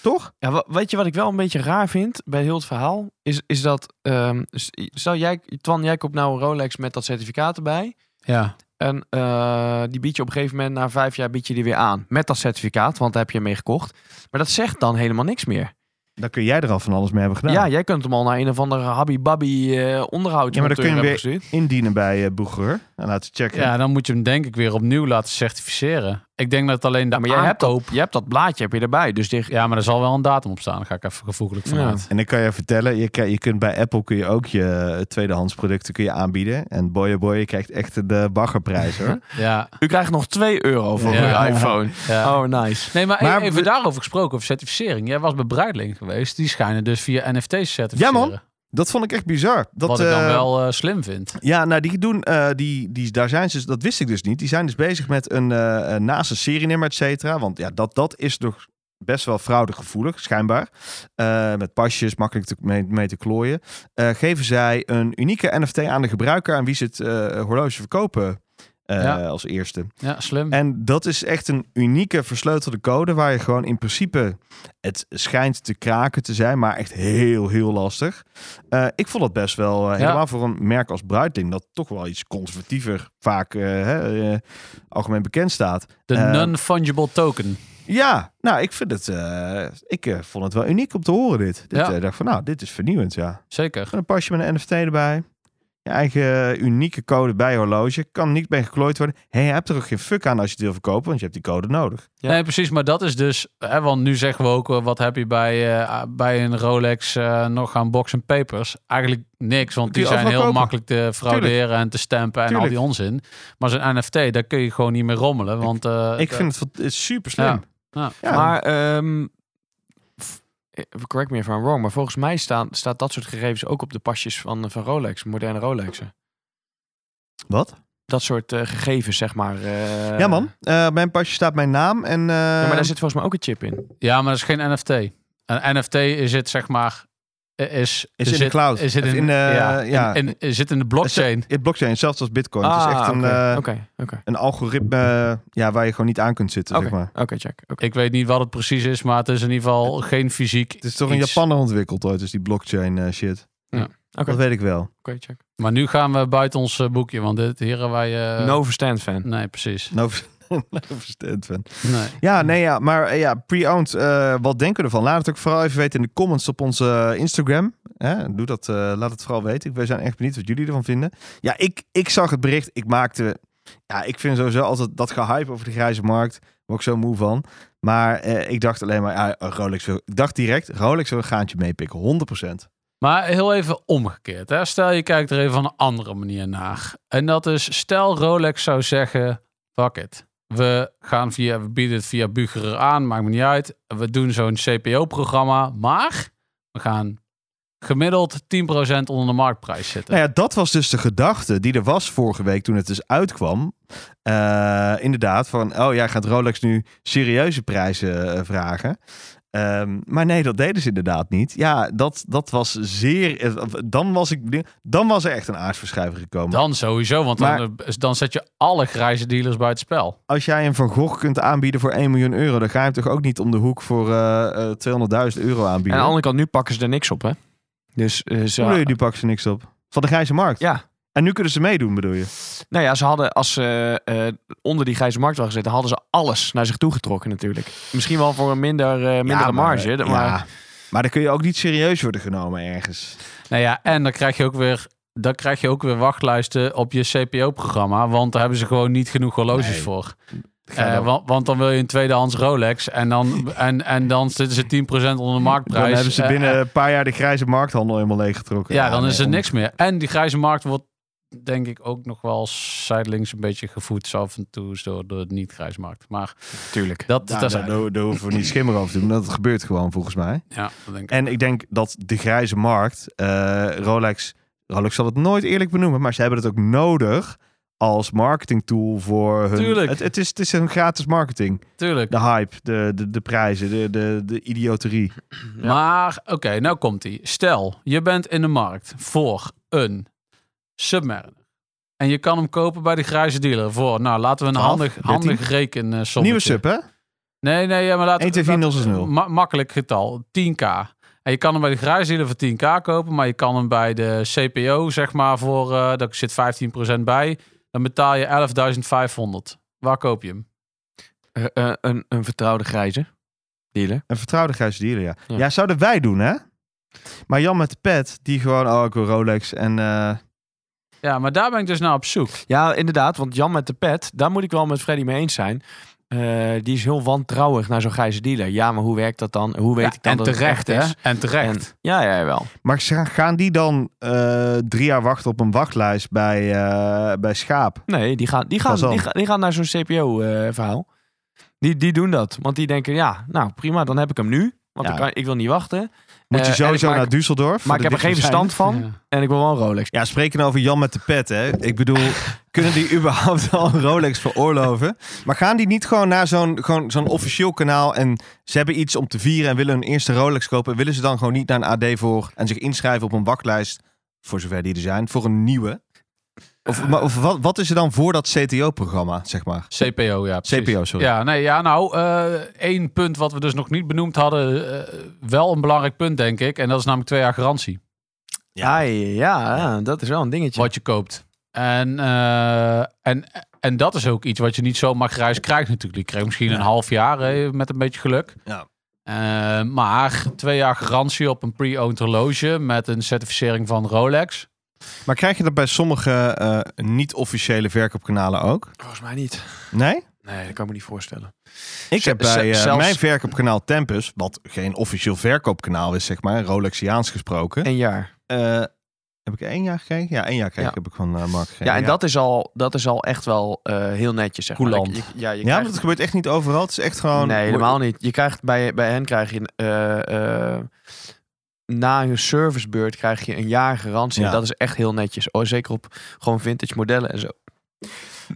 C: Toch?
E: Ja, wa- weet je wat ik wel een beetje raar vind bij heel het verhaal? Is, is dat, ehm, s- stel jij, Twan, jij koopt nou een Rolex met dat certificaat erbij.
B: ja.
E: En eh, die bied je op een gegeven moment, na vijf jaar bied je die weer aan. Met dat certificaat, want daar heb je mee gekocht. Maar dat zegt dan helemaal niks meer.
C: Dan kun jij er al van alles mee hebben gedaan.
E: Ja, jij kunt hem al naar een of andere habbi-babbi eh onderhoud
C: Ja, maar dan kun je
E: hebben
C: weer-
E: gestuurd.
C: Indienen bij eh Boeger. En laten checken.
B: ja, dan moet je hem denk ik weer opnieuw laten certificeren. Ik denk dat alleen de
E: Ja, maar jij hebt,
B: aankoop...
E: dat, je hebt dat blaadje heb je erbij. Dus die,
B: Ja, maar er zal wel een datum op staan. Daar ga ik even gevoeglijk van
E: Ja.
B: uit.
C: En ik kan je vertellen, je, kan- je kunt bij Apple kun je ook je tweedehands producten kun je aanbieden. En boy, oh boy, je krijgt echt de baggerprijs hoor.
B: Ja,
E: u krijgt nog 2 euro voor
B: Ja.
E: uw iPhone.
B: ja.
E: Oh, nice.
B: Nee, maar,
C: Maar
B: even
C: we-
B: daarover gesproken, over certificering. Jij was bij Bruidling geweest. Die schijnen dus via NFT's te certificeren.
C: Ja, man. Dat vond ik echt bizar. Dat,
B: wat ik dan
C: eh,
B: wel eh, slim vind.
C: Ja, nou die doen, eh, die, die, daar zijn ze, dus- dat wist ik dus niet. Die zijn dus bezig met een eh, eh, naast een serienummer, et cetera. Want ja, dat, dat is toch best wel fraudegevoelig, schijnbaar. Eh, met pasjes, makkelijk te, mee, mee te klooien. Eh, geven zij een unieke NFT aan de gebruiker aan wie ze het eh, horloge verkopen eh,
B: Ja.
C: als eerste.
B: Ja, slim.
C: En dat is echt een unieke versleutelde code waar je gewoon in principe het schijnt te kraken te zijn, maar echt heel, heel lastig. Eh, ik vond dat best wel eh,
B: Ja.
C: helemaal voor een merk als Bruidling, dat toch wel iets conservatiever vaak eh, hè, eh, algemeen bekend staat.
B: De
C: eh,
B: non-fungible token.
C: Ja, nou, ik vind het, eh, ik eh, vond het wel uniek om te horen dit. dit
B: Ja.
C: eh, dacht van, nou, dit is vernieuwend, ja.
B: Zeker.
C: Gewoon een pasje met een NFT erbij. Je eigen eh, unieke code bij je horloge. Kan niet mee geklooid worden. Hé, je hebt er ook geen fuck aan als je het wil verkopen, want je hebt die code nodig.
E: Ja.
B: Nee, precies. Maar dat is dus... Hè, want nu zeggen we ook, eh, wat heb je bij, eh, bij een Rolex eh, nog aan box en papers? Eigenlijk niks, want
C: Kun
B: die
C: je
B: zijn heel
C: overal kopen.
B: makkelijk te frauderen en te stampen en
C: Tuurlijk.
B: al die onzin. Maar zo'n NFT, daar kun je gewoon niet meer rommelen. Want, eh,
C: ik
B: dat-
C: vind het, van- het is super slim.
B: Ja.
C: Ja.
B: Ja.
E: Maar, ehm, f- eh, correct me if I'm wrong, maar volgens mij staan, staat dat soort gegevens ook op de pasjes van, van Rolex, moderne Rolexen.
C: Wat?
E: Dat soort eh, gegevens, zeg maar. eh.
C: ja man, Eh, op mijn pasje staat mijn naam en... eh,
E: Ja, maar daar zit volgens mij ook een chip in.
B: Ja, maar dat is geen NFT. Een NFT is het, zeg maar... eh, is,
C: Is in de cloud.
B: Is het
C: Of
B: in,
C: in, eh,
B: ja,
C: ja.
B: in, in- zit in de blockchain.
C: Het blockchain, zelfs als Bitcoin. het is echt
E: Ah,
C: een,
E: oké,
C: eh,
E: Oké, oké.
C: een algoritme eh, ja, waar je gewoon niet aan kunt zitten.
E: Oké,
C: Zeg maar.
E: Oké, check. Oké.
B: Ik weet niet wat het precies is, maar het is in ieder geval geen fysiek.
C: Het is toch in
B: iets.
C: Japan ontwikkeld ooit, dus die blockchain eh, shit.
E: Oké,
C: Dat weet ik wel.
E: oké, check.
B: Maar nu gaan we buiten ons eh, boekje, want dit, hier hebben wij... eh,
E: no verstand fan.
B: Nee, precies.
C: No, no Nou, verstand van.
B: Nee.
C: Ja, nee, ja, maar eh, ja, pre-owned, eh, wat denken we ervan? Laat het ook vooral even weten in de comments op onze Instagram. Hè, doe dat, eh, laat het vooral weten. We zijn echt benieuwd wat jullie ervan vinden. Ja, ik, ik zag het bericht, ik maakte... Ja, ik vind sowieso altijd dat gehype over de grijze markt, word ik zo moe van. Maar eh, ik dacht alleen maar, ja, Rolex wil... Ik dacht direct, Rolex wil een gaantje meepikken, 100%.
B: Maar heel even omgekeerd. Hè? Stel je kijkt er even van een andere manier naar. En dat is, stel Rolex zou zeggen, fuck it. We, gaan via, we bieden het via Bucherer aan, maakt me niet uit. We doen zo'n CPO-programma, maar we gaan gemiddeld 10% onder de marktprijs zitten.
C: Nou ja, dat was dus de gedachte die er was vorige week toen het dus uitkwam. Eh, inderdaad, van oh ja, gaat Rolex nu serieuze prijzen eh, vragen? Ehm, maar nee, dat deden ze inderdaad niet. Ja, dat, dat was zeer. eh, Dan was, ik, dan was er echt een aardverschuiving gekomen.
B: Dan sowieso, want dan, dan zet je alle grijze dealers buiten spel.
C: Als jij een Van Gogh kunt aanbieden voor 1 miljoen euro, dan ga je hem toch ook niet om de hoek voor eh, eh, 200.000 euro
E: En aan
C: aanbieden.
E: de andere kant, nu pakken ze er niks op, hè? Dus eh, ze...
C: Hoe bedoel je, nu pakken ze niks op. Van de grijze markt.
E: Ja.
C: En nu kunnen ze meedoen, bedoel je?
E: Nou ja, ze hadden, als ze eh, onder die grijze markt waren gezeten, hadden ze alles naar zich toe getrokken natuurlijk. Misschien wel voor een minder, eh, mindere
C: Ja, maar-
E: marge. Maar,
C: ja. maar dan kun je ook niet serieus worden genomen ergens.
B: Nou ja, en dan krijg je ook weer, dan krijg je ook weer wachtlijsten op je CPO-programma, want daar hebben ze gewoon niet genoeg horloges
C: Nee.
B: voor.
C: Ga je
B: Eh,
C: dan-
B: want, want dan wil je een tweedehands Rolex en dan, en, en dan zitten ze 10% onder de marktprijs.
C: Dan hebben ze
B: Eh,
C: binnen
B: eh,
C: een paar jaar de grijze markthandel helemaal leeggetrokken.
B: ja, dan
C: nee,
B: is er
C: om-
B: niks meer. En die grijze markt wordt denk ik ook nog wel zijdelings een beetje gevoed af en toe door de niet-grijze markt. Maar
E: Tuurlijk.
B: dat,
C: Nou,
B: dat is
C: daar, daar, daar hoeven we niet schimmer over te doen. Dat gebeurt gewoon volgens mij.
B: ja, dat denk ik.
C: En ik denk dat de grijze markt, eh, Rolex, Rolex zal het nooit eerlijk benoemen, maar ze hebben het ook nodig als marketingtool voor hun.
B: Tuurlijk.
C: Het, het, is, het is hun gratis marketing.
B: Tuurlijk.
C: De hype, de, de, de prijzen, de, de, de idioterie.
B: Maar, oké, nou komt ie. Stel, je bent in de markt voor een Submariner. En je kan hem kopen bij de grijze dealer voor, nou, laten we een
C: 12,
B: handig,
C: 13.
B: handig rekensommetje.
C: Nieuwe sub, hè?
B: Nee, nee, ja, maar laten
C: 1, 2, 4, 0, 6, 0.
B: Ma- makkelijk getal, 10k. En je kan hem bij de garage dealer voor 10k kopen, maar je kan hem bij de CPO, zeg maar, voor, eh daar zit 15% bij. Dan betaal je 11.500. Waar koop je hem?
E: Eh, eh, een, een vertrouwde grijze dealer.
C: Een vertrouwde grijze dealer, ja. ja.
E: Ja.
C: zouden wij doen, hè? Maar Jan met de pet, die gewoon, oh, ik wil Rolex. En eh,
B: Ja, maar daar ben ik dus naar op zoek.
E: Ja, inderdaad, want Jan met de pet, daar moet ik wel met Freddy mee eens zijn. Eh, die is heel wantrouwig naar zo'n grijze dealer. Ja, maar hoe werkt dat dan? Hoe weet
B: Ja,
E: ik dan
B: en
E: dat
B: terecht,
E: het echt
B: hè?
E: is?
B: En terecht.
E: En- ja, ja, wel.
C: Maar ze- gaan die dan eh, drie jaar wachten op een wachtlijst bij, eh, bij Schaap?
E: Nee, die gaan, die gaan,
C: Fazan.
E: die gaan, die gaan naar zo'n CPO-verhaal. eh, die, die doen dat. Want die denken, ja, nou prima, dan heb ik hem nu. Want
C: Ja.
E: ik, kan, ik wil niet wachten.
C: Moet je
E: Eh,
C: sowieso
E: en ik
C: naar
E: maak-
C: Düsseldorf? voor
E: Maar
C: de
E: ik heb er geen
C: dichtstbijzijnde?
E: verstand van.
B: Ja.
E: En ik wil wel een Rolex.
C: Ja, spreken over Jan met de pet, hè? Ik bedoel, kunnen die überhaupt al een Rolex veroorloven? Maar gaan die niet gewoon naar zo'n gewoon zo'n officieel kanaal en ze hebben iets om te vieren en willen hun eerste Rolex kopen? Willen ze dan gewoon niet naar een AD voor en zich inschrijven op een wachtlijst, voor zover die er zijn, voor een nieuwe? Of, maar, of wat, wat is er dan voor dat CTO-programma, zeg maar?
B: CPO, ja. precies.
C: CPO, sorry.
B: Ja, nee, ja, nou, eh, één punt wat we dus nog niet benoemd hadden, eh, wel een belangrijk punt, denk ik. En dat is namelijk twee jaar garantie.
E: Ja, ja, ja, dat is wel een dingetje.
B: wat je koopt. En, eh, en, en dat is ook iets wat je niet zomaar grijs krijgt natuurlijk. Je krijgt misschien een half jaar eh, met een beetje geluk.
C: Ja.
B: Eh, maar twee jaar garantie op een pre-owned horloge met een certificering van Rolex.
C: Maar krijg je dat bij sommige eh, niet-officiële verkoopkanalen ook?
E: Volgens mij niet.
C: Nee?
E: Nee, dat kan ik me niet voorstellen.
C: Ik heb bij eh,
E: zelfs-
C: mijn verkoopkanaal Tempus, wat geen officieel verkoopkanaal is, zeg maar, Rolexiaans gesproken.
E: Een jaar.
C: eh, heb ik één jaar gekregen? Ja, één jaar kreeg
E: Ja.
C: ik heb ik van eh, Mark gekregen.
E: Ja, en Dat, is al, dat is al echt wel eh, heel netjes, zeg maar.
B: Coulant.
E: Je- je- ja, je
C: Ja,
E: krijgt-
C: maar dat gebeurt echt niet overal. Het is echt gewoon...
E: Nee, helemaal niet. Je krijgt bij, bij hen krijg je eh, eh, na een servicebeurt krijg je een jaar garantie.
C: Ja.
E: Dat is echt heel netjes. Oh, zeker op gewoon vintage modellen en zo.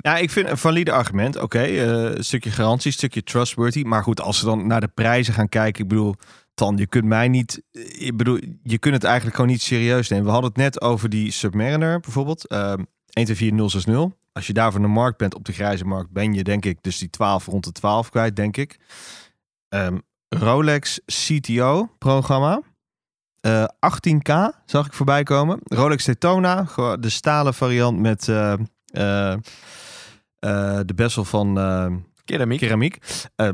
C: Ja, ik vind een valide argument. Oké, eh, een stukje garantie, een stukje trustworthy. Maar goed, als ze dan naar de prijzen gaan kijken. Ik bedoel, Tan, je kunt mij niet... eh, Ik bedoel, je kunt het eigenlijk gewoon niet serieus nemen. We hadden het net over die Submariner bijvoorbeeld. ehm 124060. Als je daar van de markt bent, op de grijze markt, ben je denk ik dus die 12 rond de 12 kwijt, denk ik. Ehm, Rolex CTO-programma. Eh, 18k zag ik voorbij komen. Rolex Daytona, ge- de stalen variant met eh, eh, eh, de bessel van eh,
E: Keramiek.
C: keramiek. Eh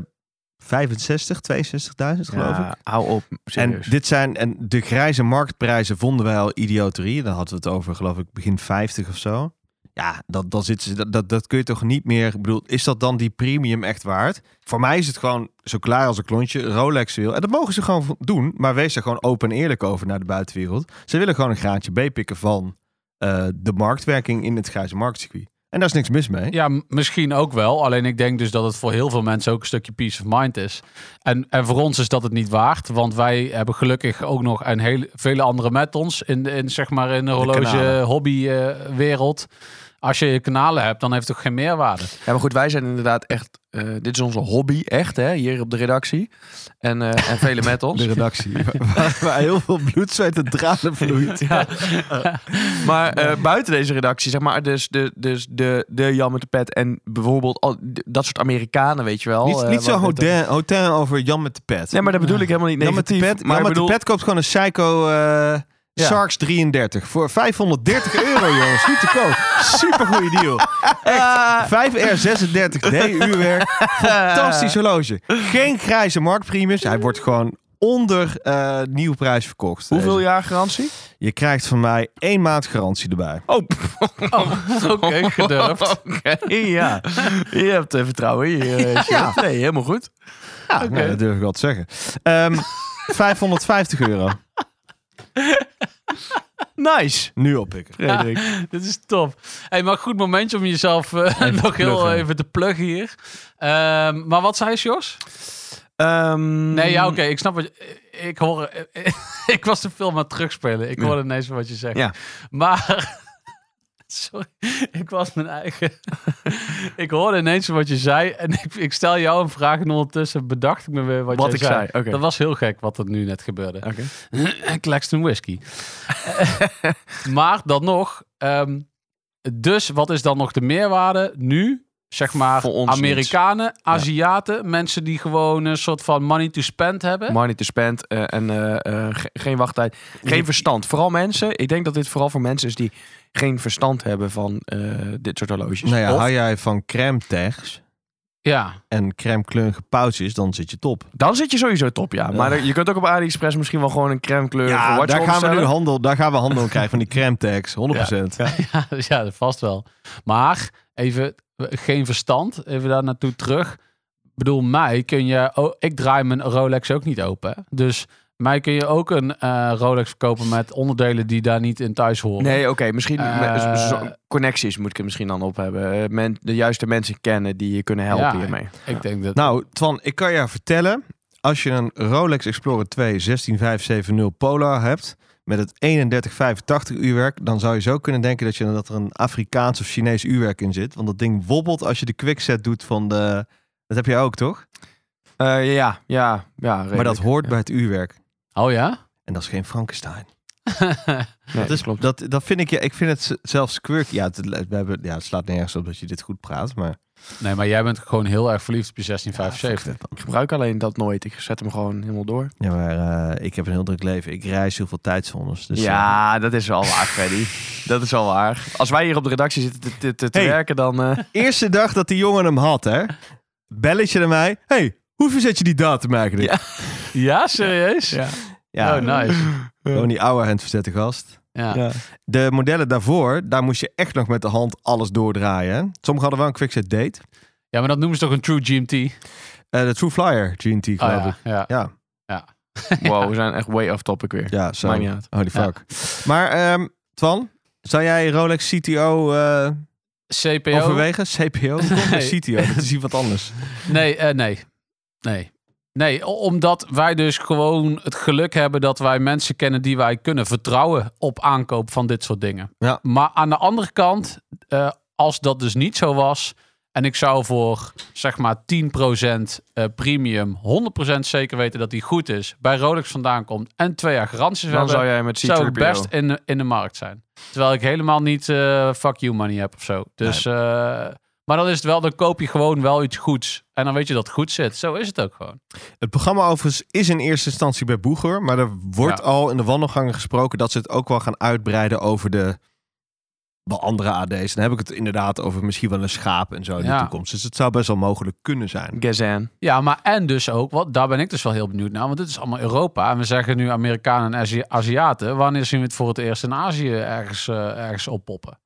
C: 65, 62.000 geloof ik.
E: Ja, hou op, serieus.
C: En dit zijn en de grijze marktprijzen vonden wij al idioterie. Dan hadden we het over, geloof ik, begin 50 of zo. Ja, dat, dat, zit, ze- dat, dat, dat kun je toch niet meer. Ik bedoel, is dat dan die premium echt waard? Voor mij is het gewoon zo klaar als een klontje. Rolex wil. En dat mogen ze gewoon doen. Maar wees er gewoon open en eerlijk over naar de buitenwereld. Ze willen gewoon een graantje B pikken van eh, de marktwerking in het grijze marktcircuit. En daar is niks mis mee.
B: Ja, m- misschien ook wel. Alleen ik denk dus dat het voor heel veel mensen ook een stukje peace of mind is. En, en voor ons is dat het niet waard. Want wij hebben gelukkig ook nog een hele, vele anderen met ons. In, in, zeg maar in de horloge
C: kanalen.
B: hobby eh, wereld. Als je je kanalen hebt, dan heeft het toch geen meerwaarde.
E: Ja, maar goed, wij zijn inderdaad echt... eh, dit is onze hobby, echt, hè, hier op de redactie. En, eh, en vele met ons.
C: redactie. waar, waar heel veel bloed, zweet en tranen vloeit.
E: Maar eh, buiten deze redactie, zeg maar, dus de, dus de, de Jan met de pet en bijvoorbeeld al, d- dat soort Amerikanen, weet je wel.
C: Niet,
E: eh,
C: niet zo
E: wat-
C: hotel, hotel over Jan met de pet.
E: Nee, maar dat bedoel ik helemaal niet
C: Jan met de
E: negatief.
C: pet,
E: maar
C: Jan
E: ik
C: met de
E: bedoel,
C: pet koopt gewoon een Psycho eh
E: Ja.
C: Sarks 33 voor 530 euro, jongens. Niet te koop. Supergoeie deal. Echt. 5R36D uurwerk. Fantastisch horloge. Geen grijze marktprimus. Hij wordt gewoon onder eh nieuwprijs verkocht.
E: hoeveel
C: Deze.
E: jaar garantie?
C: Je krijgt van mij één maand garantie erbij.
E: Oh,
B: Oké, gedurfd.
E: oké, ja. Je hebt eh, vertrouwen in je. eh, chef. Nee, helemaal goed.
C: Ja, nou, dat durf ik wel te zeggen. Ehm, 550 euro.
E: Nice.
C: Nu oppikken.
E: Frederik.
B: Dit is top. Hey, maar goed momentje om jezelf eh, nog heel
C: pluggen.
B: even te pluggen hier. Ehm, maar wat zei je, Jos?
E: Ehm,
B: Nee, ja, oké. ik snap wat je... Ik hoor... ik was de film aan het terugspelen. Ik hoorde ineens wat je zegt.
E: Ja.
B: Maar... Sorry, ik was mijn eigen... ik hoorde ineens wat je zei. En ik, ik stel jou een vraag en ondertussen bedacht ik me weer wat,
E: Wat
B: jij
E: ik zei, oké.
B: Dat was heel gek wat er nu net gebeurde.
E: Oké.
B: Claxton Whisky. maar dan nog... ehm, dus wat is dan nog de meerwaarde nu? Zeg maar
E: Voor ons
B: Amerikanen, Aziaten, mensen die gewoon een soort van money to spend hebben.
E: Money to spend eh, en eh, eh, ge- geen wachttijd. Geen verstand. Vooral mensen. Ik denk dat dit vooral voor mensen is die geen verstand hebben van eh, dit soort horloges.
C: Nou ja,
E: Of-
C: hou jij van crème tegs?
B: ja.
C: en crème kleurige pouch is, dan zit je top.
E: Dan zit je sowieso top, ja. Maar je kunt ook op AliExpress misschien wel gewoon een crème kleur voor watch
C: daar gaan, we nu
E: bestellen.
C: handel, daar gaan we handel in krijgen van die crème tags, 100%.
B: Ja, dus ja, dat vast wel. Maar even eh, geen verstand, even daar naartoe terug. Ik bedoel, mij kun je... Oh, ik draai mijn Rolex ook niet open. hè. Dus mij kun je ook een eh, Rolex verkopen met onderdelen die daar niet in thuis horen.
E: Nee, oké, misschien
B: Eh,
E: me- zo- connecties moet ik er misschien dan op hebben. Eh, men- de juiste mensen kennen die je kunnen helpen
B: Ja.
E: hiermee.
B: Ik denk dat...
C: Nou, Twan, ik kan je vertellen, als je een Rolex Explorer 2 16570 Polar hebt met het 3185 uurwerk, dan zou je zo kunnen denken dat, je, dat er een Afrikaans of Chinees uurwerk in zit. Want dat ding wobbelt als je de quickset doet van de... Dat heb jij ook, toch?
E: Eh, ja, ja, ja.
C: maar dat
E: redelijk.
C: hoort bij het uurwerk.
B: Oh ja?
C: En dat is geen Frankenstein.
E: Nee,
C: dat, is,
E: klopt.
C: dat, dat vind ik, ja, ik vind het z- zelfs quirky. Ja, het, we hebben, ja, het slaat nergens op dat je dit goed praat, maar...
B: Nee, maar jij bent gewoon heel erg verliefd op je 1675.
E: Ik gebruik alleen dat nooit. Ik zet hem gewoon helemaal door.
C: Ja, maar eh, ik heb een heel druk leven. Ik reis heel veel tijdzones. Dus,
E: ja, dat is wel waar, Freddy. Dat is wel waar. Als wij hier op de redactie zitten te, te, te- te
C: Hey.
E: werken, dan... eh,
C: eh, eerste dag dat die jongen hem had, hè? Belletje naar mij. hey, hoe verzet je die datum eigenlijk? Ja,
B: Ja, serieus? Ja. Oh, nice.
C: gewoon die oude hand verzette gast.
B: Ja.
C: De modellen daarvoor, daar moest je echt nog met de hand alles doordraaien. hè? Sommigen hadden wel een quickset date.
B: ja, maar dat noemen ze toch een true GMT?
C: Eh, de True Flyer GNT, geloof
B: Oh,
C: ik.
B: ja. ja.
C: Ja,
E: Wow, we zijn echt way off topic weer.
C: ja, zo.
E: Maakt niet uit.
C: Holy
B: Ja.
C: fuck. Maar ehm, Twan, zou jij Rolex CTO eh,
B: CPO?
C: overwegen? CPO? Hoe komt
B: Nee.
C: nee. CTO, dat is iets wat anders.
B: Nee, eh, nee. Nee. Nee, o- omdat wij dus gewoon het geluk hebben dat wij mensen kennen die wij kunnen vertrouwen op aankoop van dit soort dingen.
C: Ja.
B: Maar aan de andere kant, eh, als dat dus niet zo was en ik zou voor zeg maar 10% eh, premium 100% zeker weten dat die goed is, bij Rolex vandaan komt en twee jaar garanties
E: Dan
B: hebben,
E: zou jij met
B: zou ik
E: C-3PO.
B: best in de, in de markt zijn. Terwijl ik helemaal niet eh, fuck you money heb of zo. Dus, eh, maar dan is het wel, dan koop je gewoon wel iets goeds. En dan weet je dat het goed zit. Zo is het ook gewoon.
C: Het programma overigens is in eerste instantie bij Boeger. Maar er wordt
B: Ja.
C: al in de wandelgangen gesproken dat ze het ook wel gaan uitbreiden over de wel andere AD's. Dan heb ik het inderdaad over misschien wel een schaap en zo in
B: Ja.
C: de toekomst. Dus het zou best wel mogelijk kunnen zijn.
E: Gazan.
B: Ja, maar en dus ook, wat, daar ben ik dus wel heel benieuwd naar. Want dit is allemaal Europa. En we zeggen nu Amerikanen en Azi- Aziaten. Wanneer zien we het voor het eerst in Azië ergens, eh, ergens oppoppen?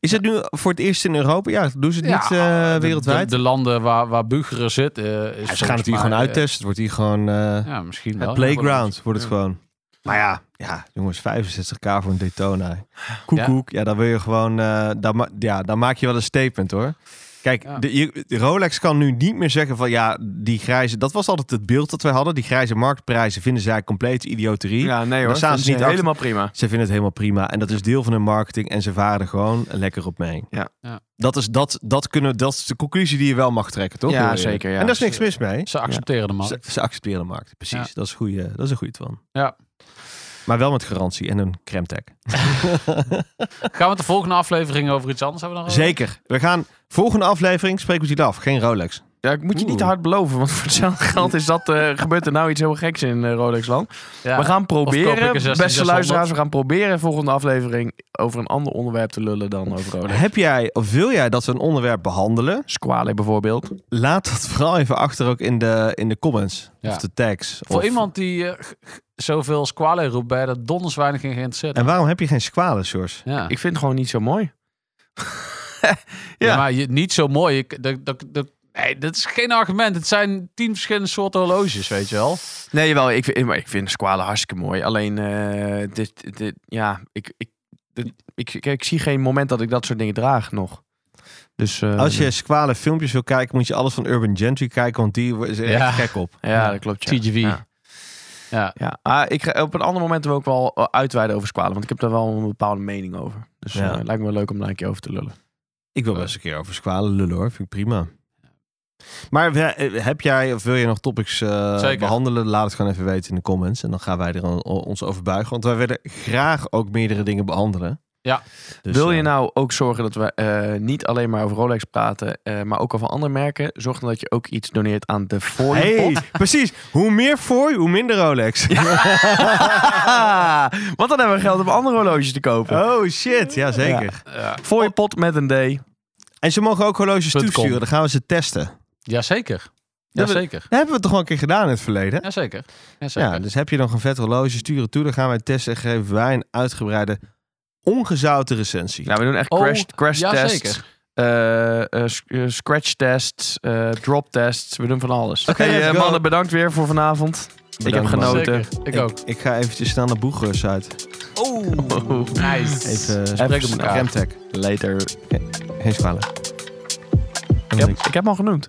C: Is het nu voor het eerst in Europa? Ja, doen ze het niet eh,
B: de-
C: wereldwijd?
B: De, de landen waar, waar Bugeren zit. eh, is
C: Ja, ze
B: volgens
C: gaan het hier
B: mij,
C: gewoon
B: eh,
C: uittesten. Het wordt hier gewoon eh,
B: ja, misschien wel.
C: het playground. Wordt het
E: Ja.
C: gewoon. Maar ja, ja, jongens, 65k voor een Daytona. Koekoek. Ja, ja dan wil je gewoon. eh, daar, ma- ja, daar maak je wel een statement hoor. Kijk,
B: Ja.
C: de, je- de Rolex kan nu niet meer zeggen van ja, die grijze. Dat was altijd het beeld dat wij hadden. Die grijze marktprijzen vinden zij compleet idioterie.
E: Ja, nee hoor.
C: staan
E: Dat
C: ze
E: is
C: niet achter.
E: helemaal prima.
C: Ze vinden het helemaal prima. En dat is deel van hun marketing. En ze varen er gewoon lekker op mee.
E: Ja.
B: Ja.
C: Dat, is, dat, dat, kunnen, dat is de conclusie die je wel mag trekken, toch?
E: Ja,
C: Heel eerlijk.
E: zeker, ja.
C: En daar is niks mis mee.
B: Ze accepteren de
C: Ze,
B: markt.
C: ze accepteren de markt. Precies.
B: Ja.
C: Dat, is een goeie, dat is een goede van.
B: Ja.
C: Maar wel met garantie en een cremtag.
B: Gaan we het de volgende aflevering over iets anders hebben? Dan over?
C: Zeker. We gaan volgende aflevering spreken we het hier af. Geen Rolex.
E: Ja, ik moet je niet te
C: Oeh.
E: hard beloven, want voor hetzelfde geld is dat, eh, gebeurt er nou iets heel geks in eh, Rolexland.
B: Ja.
E: We gaan
B: Of koop ik
E: proberen,
B: een 16
E: beste
B: 600?
E: luisteraars, we gaan proberen volgende aflevering over een ander onderwerp te lullen dan over Rolex.
C: Heb jij of wil jij dat we een onderwerp behandelen?
E: Squale bijvoorbeeld.
C: Laat dat vooral even achter ook in de, in de comments
B: Ja.
C: of de tags.
B: Voor
C: Of-
B: iemand die eh, g- g- zoveel squale roept bij dat donders weinig in geïnteresseerd.
C: En waarom heb je geen squalen, Sjors?
B: Ja.
E: Ik vind het gewoon niet zo mooi.
B: Ja.
E: Ja.
B: maar je, niet zo mooi. Ik, dat, dat, dat, nee, dat is geen argument. Het zijn tien verschillende soorten horloges, weet je wel.
E: Nee, jawel, ik vind, maar ik vind Squale hartstikke mooi. Alleen, eh, dit, dit, ja, ik, ik, dit- ik, ik, ik zie geen moment dat ik dat soort dingen draag nog. Dus, eh,
C: Als je squalen filmpjes wil kijken, moet je alles van Urban Gentry kijken, want die is er echt
B: Ja.
C: gek op.
E: Ja, dat klopt. Ja.
B: TGV.
E: Ja.
B: Ja.
E: Ja, ah, ik ga op een ander moment wil ik wel eh, uitweiden over squalen, want ik heb daar wel een bepaalde mening over. Dus
C: Ja.
E: eh, lijkt me wel leuk om daar een keer over te lullen.
C: Ik wil best een keer over squalen lullen hoor, vind ik prima. Maar we- eh, heb jij of wil je nog topics eh,
B: Zeker.
C: behandelen? Laat het gewoon even weten in de comments. En dan gaan wij er on- ons over buigen. Want wij willen graag ook meerdere dingen behandelen.
B: Ja.
C: Dus,
E: Wil je
C: eh,
E: nou ook zorgen dat we eh, niet alleen maar over Rolex praten, eh, maar ook over andere merken? Zorg dan dat je ook iets doneert aan de
C: Hey,
E: Fooienpot.
C: precies. Hoe meer fooi, hoe minder Rolex.
E: want dan hebben we geld om andere horloges te kopen.
C: Oh shit, ja zeker.
B: Ja.
C: Oh.
E: Fooienpot met een D.
C: En ze mogen ook horloges
B: Punt com.
C: toesturen. Dan gaan we ze testen.
B: Jazeker.
C: Ja, we-
B: Jazeker.
C: Dat hebben we toch al een keer gedaan in het verleden.
B: Jazeker. Jazeker.
C: Ja, dus heb je nog een vet horloge, stuur het toe. Dan gaan wij testen en geven wij een uitgebreide, ongezouten recensie.
E: Ja, we doen echt
B: Oh,
E: crash, crash
B: jazeker.
E: tests, eh, eh, sc- eh, scratch tests, eh, drop tests. We doen van alles.
C: Oké,
E: Hey,
C: let's
E: eh,
C: go.
E: mannen, bedankt weer voor vanavond. ik heb
C: man.
E: genoten.
B: Zeker. Ik ook.
C: Ik ga eventjes snel naar Boegers uit.
B: Oh, nice.
C: Even
E: Even
C: spreken met
E: snel.
C: Remtech.
E: Later.
C: Geen squalen.
E: Ik heb, ik heb hem al genoemd.